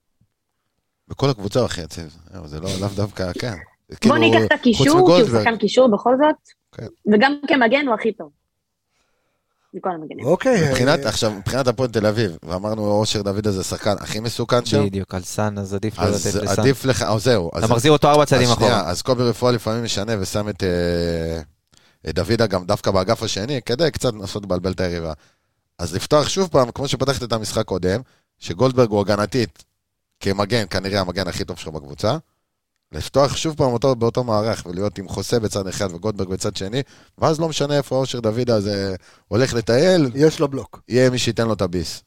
בכל הקבוצה הוא הכי יציב. זהו, זה לא לאו דווקא, כן. זה בוא כאילו, ניקח את חוץ הקישור, כי הוא מגולדברג. שחקן קישור בכל זאת, כן. וגם כמגן הוא הכי טוב. מכל המגנים. אוקיי. מבחינת, אה, עכשיו, מבחינת הפועל תל אביב, ואמרנו, אושר דוידה זה השחקן הכי מסוכן שם, בדיוק, על סאן, אז עדיף לא לתת אז לסאן. עדיף לך, אז זהו. אז אתה מחזיר אותו ארבע צעדים אז שנייה, אחורה. אז קובי רפואה לפעמים משנה ושם את, אה, את דוידה גם דווקא באגף השני, כדי קצת לנסות לבלבל את היריבה. אז לפתוח שוב פעם, כמו שפתחת את המשחק קודם, שגולדברג הוא הגנתית כמגן, כנראה המגן הכי טוב שלך בקבוצה, לפתוח שוב פעם אותו באותו מערך ולהיות עם חוסה בצד אחד וגולדברג בצד שני, ואז לא משנה איפה אושר דוידה הזה הולך לטייל, יש לו בלוק. יהיה מי שייתן לו את הביס.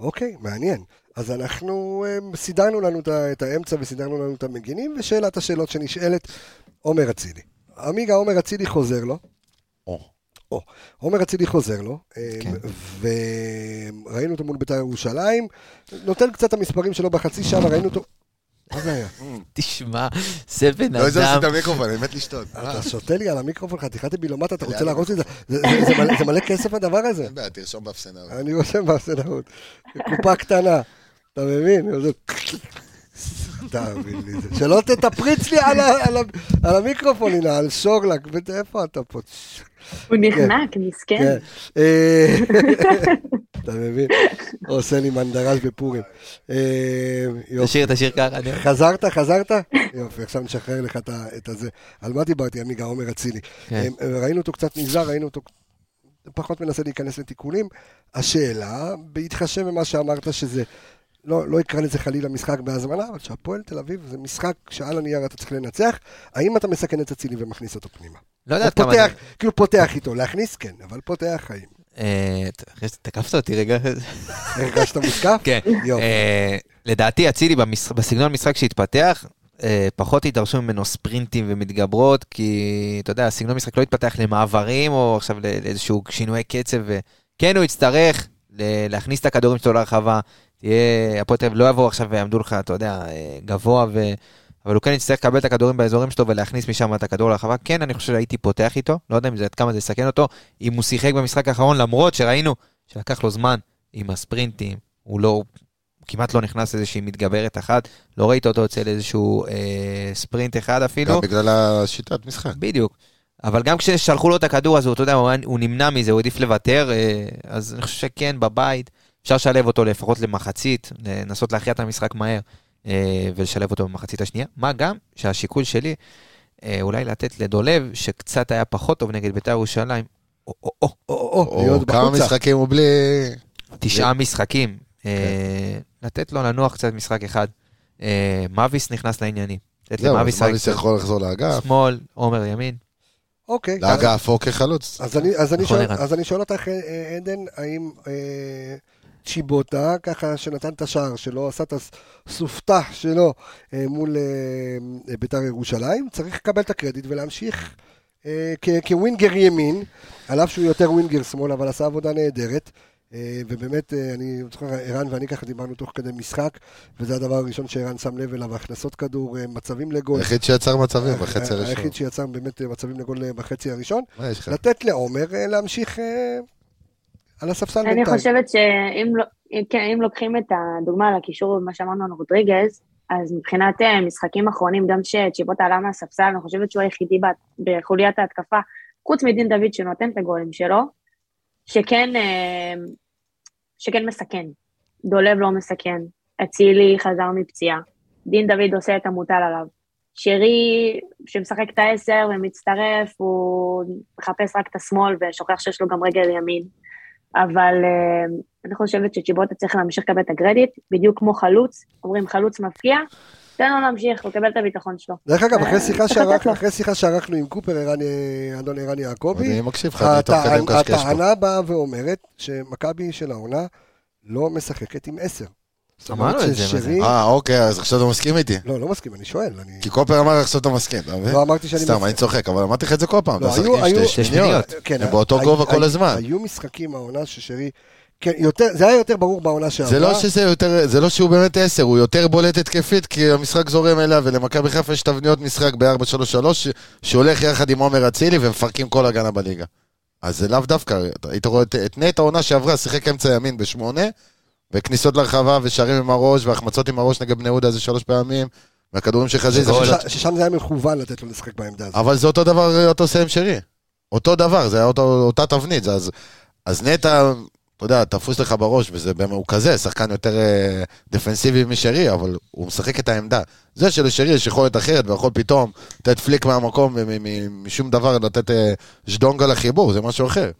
אוקיי, מעניין. אז אנחנו אה, סידרנו לנו את ה- את האמצע וסידרנו לנו את המגינים, ושאלת השאלות שנשאלת, עומר אצילי. עמיגה עומר אצילי חוזר לו. או. או, עומר אצילי חוזר לו, אמ, כן. וראינו אותו מול בית"ר ירושלים, נותן קצת את המספרים שלו בחצי שעה, ראינו אותו... מה זה היה? תשמע, זה בן לא הזזתי אדם, את המיקרופון, אני מת לשתות. אתה שותה לי על המיקרופון חתיכת הבילומט, אתה רוצה להרוס לי את זה? זה- זה- זה מלא- זה מלא כסף הדבר הזה. אין בעיה, תרשום באפסנה. אני רושם בסדרות. קופה קטנה, אתה מבין? זה- תאמין לי. זה- שלא ת- תפריץ לי על ה- על ה- על המיקרופון, הנה, על שורלק, ואת- איפה אתה פה? הוא נחנק, מסכן. כן. אה, אתה מבין? עושה לי מנדרש בפורים. אה, יופי. תשאיר, תשאיר ככה. אני- חזרת, חזרת? יופי, עכשיו נשחרר לך את ה- את הזה. על מה דיברתי, עמיגה עומר אצילי? כן. אה, ראינו אותו קצת נזהר, ראינו אותו פחות מנסה להיכנס לתיקונים. השאלה, בהתחשב במה שאמרת שזה, לא, לא אקרא לזה חלילה משחק בהזמנה, אבל שהפועל תל אביב זה משחק שעל הנייר אתה צריך לנצח, האם אתה מסכן את אצילי ומכניס אותו פנימה? לא או יודעת כמה... פותח, כאילו פותח איתו, להכניס כן, אבל פותח חיים. אה, אחרי שתקפת אותי רגע. הרגשת מותקף? כן. יופי. אה, לדעתי אצילי במש- בסגנון משחק שהתפתח, אה, פחות התדרשו ממנו ספרינטים ומתגברות, כי אתה יודע, הסגנון משחק לא התפתח למעברים, או עכשיו לאיזשהו שינוי קצב, ו- כן, הוא יצטרך ל- להכניס את הכדורים שלו לרחבה. תהיה, הפועל תל אביב לא יבואו עכשיו ויעמדו לך, אתה יודע, אה, גבוה, ו... אבל הוא כן יצטרך לקבל את הכדורים באזורים שלו ולהכניס משם את הכדור לרחבה. כן, אני חושב שהייתי פותח איתו, לא יודע אם זה, עד כמה זה יסכן אותו, אם הוא שיחק במשחק האחרון, למרות שראינו שלקח לו זמן עם הספרינטים, הוא לא, הוא כמעט לא נכנס לאיזושהי מתגברת אחת, לא ראית אותו יוצא לאיזשהו אה, ספרינט אחד אפילו. גם בגלל השיטת משחק. בדיוק. אבל גם כששלחו לו את הכדור הזה, אתה יודע, הוא, היה- הוא נמנע מזה, הוא העדיף לוותר, אה, אז אני חושב שכן, בבית, אפשר לשלב אותו לפחות למחצית, לנסות להכריע את המשחק מהר, אה, ולשלב אותו במחצית השנייה. מה גם שהשיקול שלי, אה, אולי לתת לדולב, שקצת היה פחות טוב נגד בית"ר ירושלים, או, או, או, או, או, או, להיות או כמה בחוצה. משחקים הוא בלי... תשעה משחקים, אה, כן. לתת לו לנוח קצת משחק אחד. אה, מאביס נכנס לעניינים. לתת זהו, למאביס אז רק מאביס יכול לחזור לאגף, שמאל, עומר ימין. אוקיי. לאגף או כחלוץ. אז אני, אז, אני נכון, שואל, ערן. אז אני שואל אותך, אה, אה, עדן, האם אה, צ'יבוטה, ככה שנתן את השער שלו, עשה את הסופתח שלו אה, מול אה, אה, בית"ר ירושלים, צריך לקבל את הקרדיט ולהמשיך אה, כ- כווינגר ימין, על אף שהוא יותר ווינגר שמאל, אבל עשה עבודה נהדרת. אה, ובאמת, אה, אני זוכר, ערן ואני ככה דיברנו תוך כדי משחק, וזה הדבר הראשון שערן שם לב אליו, הכנסות כדור, אה, מצבים לגול. היחיד שיצר מצבים אה, בחצי הראשון. כן. היחיד שיצר באמת אה, מצבים לגול אה, בחצי הראשון. מה יש לך? לתת לעומר אה, להמשיך אה, על הספסל אני בינתיים. חושבת שאם לא- אם- כן, אם לוקחים את הדוגמה על הקישור ומה שאמרנו על רודריגז, אז מבחינת אה, משחקים אחרונים, גם שצ'יבוטה עלה מהספסל, אני חושבת שהוא היחידי בה- בחוליית ההתקפה, חוץ מדין דוד שנותן את הגולים שלו, שכן, אה, שכן מסכן. דולב לא מסכן, אצילי חזר מפציעה, דין דוד עושה את המוטל עליו. שרי, שמשחק את העשר ומצטרף, הוא מחפש רק את השמאל ושוכח שיש לו גם רגל ימין. אבל אה, אני חושבת שצ'יבוטה צריך להמשיך לקבל את הקרדיט, בדיוק כמו חלוץ, אומרים חלוץ מפקיע, תן לו להמשיך, הוא יקבל את הביטחון שלו. דרך אגב, אחרי שיחה אה, צריך לתת שערכנו- לו. אחרי שיחה שערכנו עם קופר, ערן, אה, אדון ערן יעקבי, אני מקשיב לך, אני תוך כדי הטענ- מקשקש פה. הטענה באה ואומרת שמכבי של העונה לא משחקת עם עשר. זאת אומרת אמרנו את זה, מה זה? ששרי- אה, אוקיי, אז עכשיו אתה מסכים איתי. לא, לא מסכים, אני שואל. אני- כי קופר אמר עכשיו אתה מסכים, אתה מבין? לא אמרתי שאני סתם, מסכים. אני צוחק, אבל אמרתי לך את זה כל פעם. לא, אתה משחק היו- עם היו- שתי שתי שמיניות. כן, הם באותו היו- גובה היו- כל הזמן. היו משחקים העונה ששרי... כן, יותר- זה היה יותר ברור בעונה שעברה. זה לא שזה יותר, זה לא שהוא באמת עשר, הוא יותר בולט התקפית, כי המשחק זורם אליו, ולמכבי חיפה יש תבניות משחק ב-4-3-3, ש- שהולך יחד עם עומר אצילי, ומפרקים כל הגנה בליגה. אז זה לאו דווקא, אתה- היית רואה את- את נט העונה שעברה, שיחק אמצע ימין בשמונה, וכניסות לרחבה, ושערים עם הראש, והחמצות עם הראש נגד בני יהודה זה שלוש פעמים, והכדורים של חזיזה, גול. שזה- שש- ששם זה היה מכוון לתת לו לשחק בעמדה הזאת. אבל זה אותו דבר, אה, אותו סיים שרי. אותו דבר, זה היה אותו, אותה תבנית. זה, אז, אז נטע, אתה יודע, תפוס לך בראש, וזה באמת, הוא כזה, שחקן יותר אה, דפנסיבי משרי, אבל הוא משחק את העמדה. זה שלשרי יש יכולת אחרת, ויכול פתאום לתת פליק מהמקום, מ- מ- מ- משום דבר לתת אה, ז'דונג על החיבור, זה משהו אחר.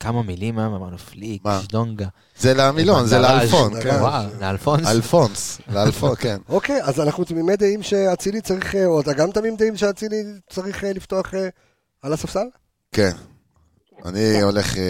כמה מילים היום אמרנו, פליק, מה? שדונגה. זה למילון, זה בנדרז', לאלפון, זה כן. גם- וואו, לאלפונס. אלפונס, לאלפון, כן. אוקיי, אז אנחנו תמימי דעים שאצילי צריך, אה, או אתה גם תמים דעים שאצילי צריך אה, לפתוח אה, על הספסל? כן. אני הולך, אה,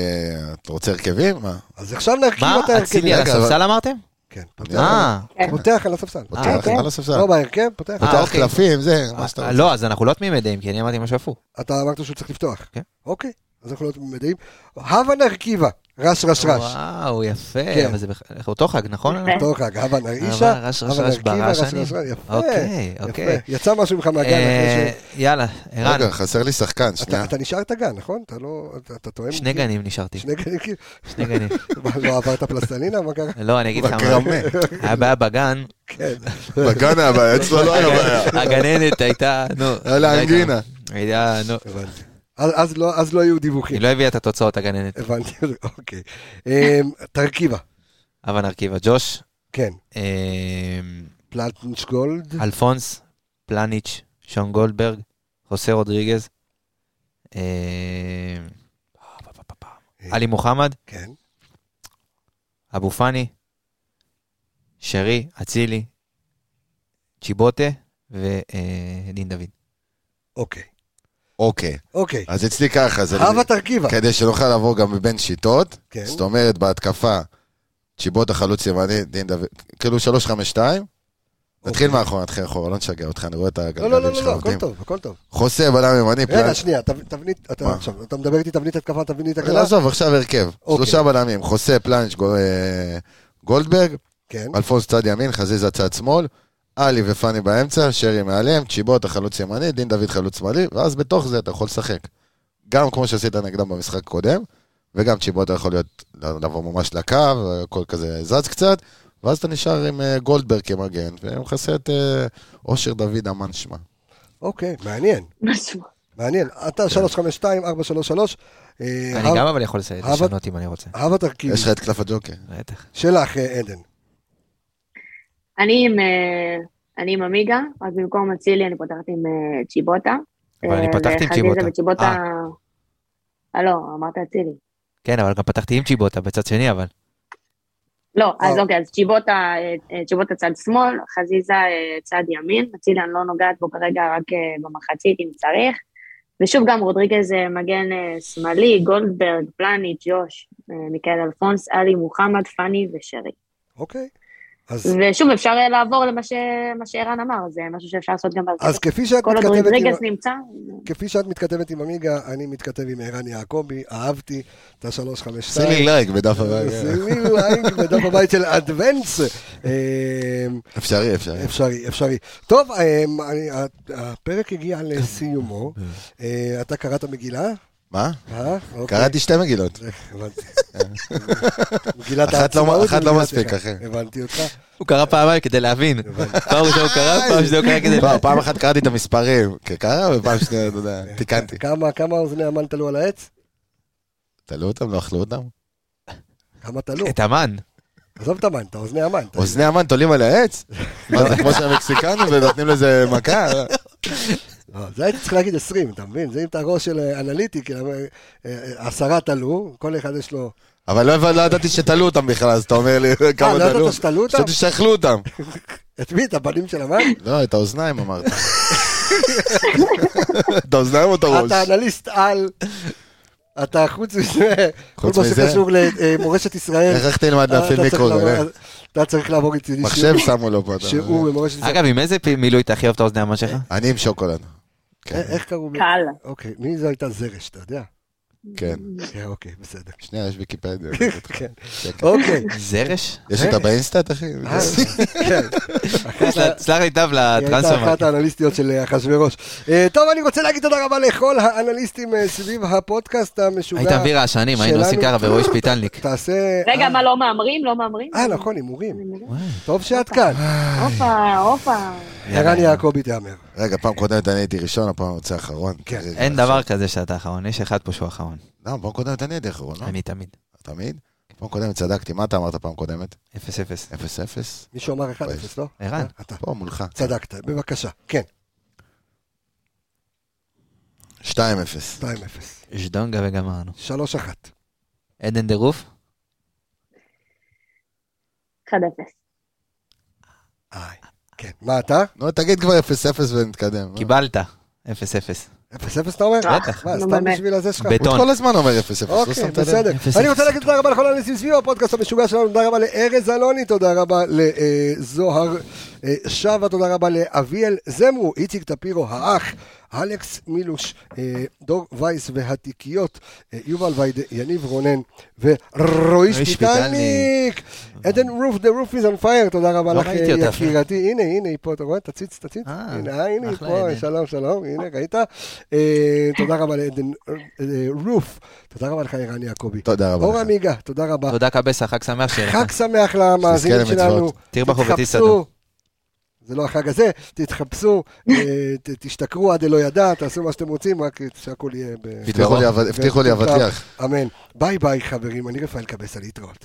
אתה רוצה הרכבים? מה? אז עכשיו נרכיב מה, כאילו את ההרכב. אצילי על רגע, אבל- הספסל אמרתם? כן, אני- פותח אה, על- פותח על הספסל. אה, פותח אוקיי. על הספסל. לא בהרכב, פותח. אה, פותח אוקיי. קלפים, זה, מה שאתה אה, רוצה. לא, אז אנחנו לא תמימי דעים, כי אני אמרתי משהו הפוך. אתה אמרת שהוא צריך לפתוח. כן. אוקיי, אז אנחנו לא תמימי דעים. הווה נרכיבה, רש רש רש. וואו, כן. יפה, אבל זה בכ- אותו חג, נכון? יפה. טוב חג, הווה נרעישה, אבל רש רש הווה רש נרכיבה, ברש רש אני. רש רש. יפה, אוקיי, אוקיי. יפה. יצא משהו ממך מהגן. אה, אחרי ש- יאללה, ערן, רגע, חסר לי שחקן, אתה- שנייה. אתה נשארת גן, נכון? אתה לא, אתה- אתה תואם? כן. שני גנים נשארתי, שני גנים, כאילו. שני גנים. מה, לא עברת פלסטלינה? מה קרה? לא, אני אגיד לך מה, בקרמה. היה בעיה בגן, כן. בגן היה בעיה, אצלו לא היה בעיה. הגננת הייתה, נו. היה לה לא הייתה- אנגינה. הייתה, נו. הבנתי. אז- אז לא- אז לא היו דיווחים. היא לא הביאה את התוצאות הגננת, הבנתי, אוקיי. אמ, תרכיבה, אבל נרכיבה. ג'וש, כן. אמ, פלטנש גולד, אלפונס, פלניץ', שון גולדברג, חוסה רודריגז, אה, פה, פה, פה, פה. עלי מוחמד, כן. אבו פאני, שרי, אצילי, צ'יבוטה ודין דוד. אוקיי. אוקיי, אוקיי. אז אצלי ככה, זה כן, הווה תרכיבה. כדי שנוכל לעבור גם בין שיטות. כן. זאת אומרת, בהתקפה, צ'יבוטה חלוץ ימני, דין דוד, כאילו 3-5-2, נתחיל מאחורה, נתחיל אחורה, לא נשגע אותך, אני רואה את אוקיי. לא, לא, לא, הגלגלים לא, שלך לא, הכל עובדים. טוב, הכל טוב. חוסה, בלם ימני, רגע, פלנט. שנייה, תב- תבנית, אתה מה? עכשיו, אתה מדבר איתי תבנית התקפה, תבנית רגע, הגנה? עזוב, עכשיו הרכב. לא. אוקיי. שלושה בלמים, חוסה, פלנץ', גו- אה, גולדברג, כן, אלפונס צד ימין, חזיזה צד שמאל, עלי ופאני באמצע, שרי מעליהם, צ'יבוט החלוץ ימני, דין דוד חלוץ שמאלי, ואז בתוך זה אתה יכול לשחק. גם כמו שעשית נגדם במשחק הקודם, וגם צ'יבוט יכול להיות, לבוא ממש לקו, הכל כזה זז קצת, ואז אתה נשאר עם אה, גולדברג כמגן, ומכסה את אה, אושר דוד אמן שמה. אוקיי, מעניין, משהו. מעניין. כן. אתה 352, 433. אה, אני הב- גם אבל יכול לס- אבל- לשנות אם אני רוצה. הב התרכיב יש לך את קלף הג'וקר. בטח. שלך, אה, עדן. אני עם, אה, אני עם עמיגה, אז במקום אצילי אני פותחת עם אה, צ'יבוטה. אבל אני אה, פתחתי עם וחזיזה צ'יבוטה. וצ'יבוטה... אה, לא, אמרת אצילי. כן, אבל גם פתחתי עם צ'יבוטה בצד שני, אבל. לא, אז אה. אוקיי, אז צ'יבוטה, אה, אה, צ'יבוטה צד שמאל, חזיזה אה, צד ימין, אצילי אני לא נוגעת בו כרגע, רק אה, במחצית אם צריך. ושוב גם רודריגז אה, מגן אה, שמאלי, גולדברג, פלניץ', ג'וש, אה, מיכאל אלפונס, עלי מוחמד, פאני ושרי. אוקיי. אז, ושוב, אפשר אה, לעבור למה ש- מה שערן אמר, זה משהו שאפשר לעשות גם בהרכב. אז כאילו- אה, כפי שאת כל עוד מתכתבת עם... רודריגז נמצא, כפי שאת מתכתבת עם עמיגה, אני מתכתב עם ערן יעקבי, אהבתי את ה-352. עושה לי לייק בדף הרגע. שימי לייק בדף הבית של אדוונס. אמ, אפשרי, אפשרי. אפשרי, אפשרי. טוב, אמ, אני- הפרק הגיע כן. לסיומו. אה, אתה קראת מגילה? מה? אה? אוקיי. קראתי שתי מגילות. הבנתי. מגילת אחת לא- העצמאות אחת לא ומגילת מספיק, איכה. אחי. כן. הבנתי אותך. הוא קרא פעמיים כדי להבין. פעם ראשונה הוא קרא, פעם שנייה הוא קרא כדי לא, פעם אחת קראתי את המספרים, כקרה, ופעם שנייה, אתה יודע, תיקנתי. כמה- כמה אוזני המן תלו על העץ? תלו אותם, לא אכלו אותם? כמה תלו? את המן. עזוב את המן, את האוזני המן. אתה- אוזני המן תולים על העץ? מה זה, כמו שהמקסיקנים ונותנים לזה מכה? לא, זה הייתי צריך להגיד 20, אתה מבין? זה אם אתה ראש של אה, אנליטי, כי אה, אה, עשרה תלו, כל אחד יש לו... אבל לא הבנ- לא ידעתי שתלו אותם בכלל, אז אתה אומר לי כמה לא תלו. ידעת שתלו אותם? חשבתי שאכלו אותם. את מי? את הבנים של המן? לא, את האוזניים אמרת. את האוזניים או את הראש? אתה אנליסט על... אתה חוץ מזה, כל חוץ מה מזה? שקשור למורשת ישראל. איך איך תלמד אתה להפעיל צריך מיקרוגל? לעבור- אה? אתה צריך לעבור איתי שיעור- מחשב אה, שמו לו פה. אתה שיעור אומר. במורשת ישראל. אגב, עם איזה פי- מילוי אתה הכי אוהב את האוזני המן שלך? אני עם שוקולד. כן, אה, איך קראו לי? קל. אוקיי, מי זו הייתה זרש, אתה יודע? כן. כן, אוקיי, בסדר. שנייה, יש ויקיפדיה. כן. כן, כן. אוקיי. זרש? יש אותה באינסטאט, אחי? אה, כן. סלח לי טוב היא הייתה לטרנספורמט. אחת האנליסטיות של אה, אחשוורוש. אה, טוב, אני רוצה להגיד תודה רבה לכל האנליסטים אה, סביב הפודקאסט המשוגע. היית מביא רעשנים, היינו שלנו. עושים ככה ורואה שפיטלניק. תעשה... רגע, אה, מה, לא מהמרים? לא מהמרים? אה, נכון, הימורים. אני מבינה. טוב שאת כאן. אה, הופה, הופה. ערן יעקבי תהמר. רגע, פעם קודמת אני הייתי ראשון, הפעם אני רוצה אחרון. כן. תראי, אין עכשיו- דבר כזה שאתה אחרון, יש אחד פה שהוא אחרון. לא, פעם קודמת אני הייתי אחרון, לא? אני תמיד. תמיד? פעם קודמת צדקתי, מה אתה אמרת פעם קודמת? אפס אפס. 0-0? מישהו אמר 1-0, לא? ערן. אתה. פה, מולך. צדקת, בבקשה. כן, 2-0. 2-0. ז'דונגה וגמרנו. 3-1. עדן דירוף? 1-0. אה. איי. כן, מה אתה? נו, תגיד כבר 0-0 ונתקדם. קיבלת. אפס אפס. 0-0 אתה אומר? בטח. מה, נו, סתם באמת. בשביל הזה שלך? בטון. הוא כל הזמן אומר 0-0, לא אוקיי, שמת לב? בסדר. אפס, אני אפס. רוצה להגיד תודה רבה לכל האנשים סביב הפודקאסט המשוגע שלנו, תודה רבה לארז אלוני, תודה רבה לזוהר אה, שווה, תודה רבה לאביאל זמרו, איציק טפירו האח, אלכס מילוש, אה, דור וייס והתיקיות, אה, יובל וייד, יניב רונן ורועי רועי שפיטלניק. עדן רוף, The roof is on fire, תודה רבה לא לך ראיתי אה, אותה אפילו. יקירתי. הנה, הנה, היא פה, אתה רואה? תציץ, תציץ. אה, הנה, אה, הנה, היא אחלה, פה, עדן. שלום, שלום, הנה, ראית? אה, תודה רבה לעדן אה, רוף, תודה רבה לך, ערן יעקבי. תודה רבה אור לך. עמיגה, תודה רבה. תודה קבסה, חג שמח שיהיה חג לך. שמח למאזינים שתזכה שלנו. למצוות. תרבח תתחפשו. ותסעדו. זה לא החג הזה, תתחפשו, אה, ת- תשתכרו עד אלא ידע, תעשו מה שאתם רוצים, רק שהכול יהיה ב... הבטיחו לי אבטיח. אמן. ביי ביי, חברים, אני רפאל קבסה, להתראות.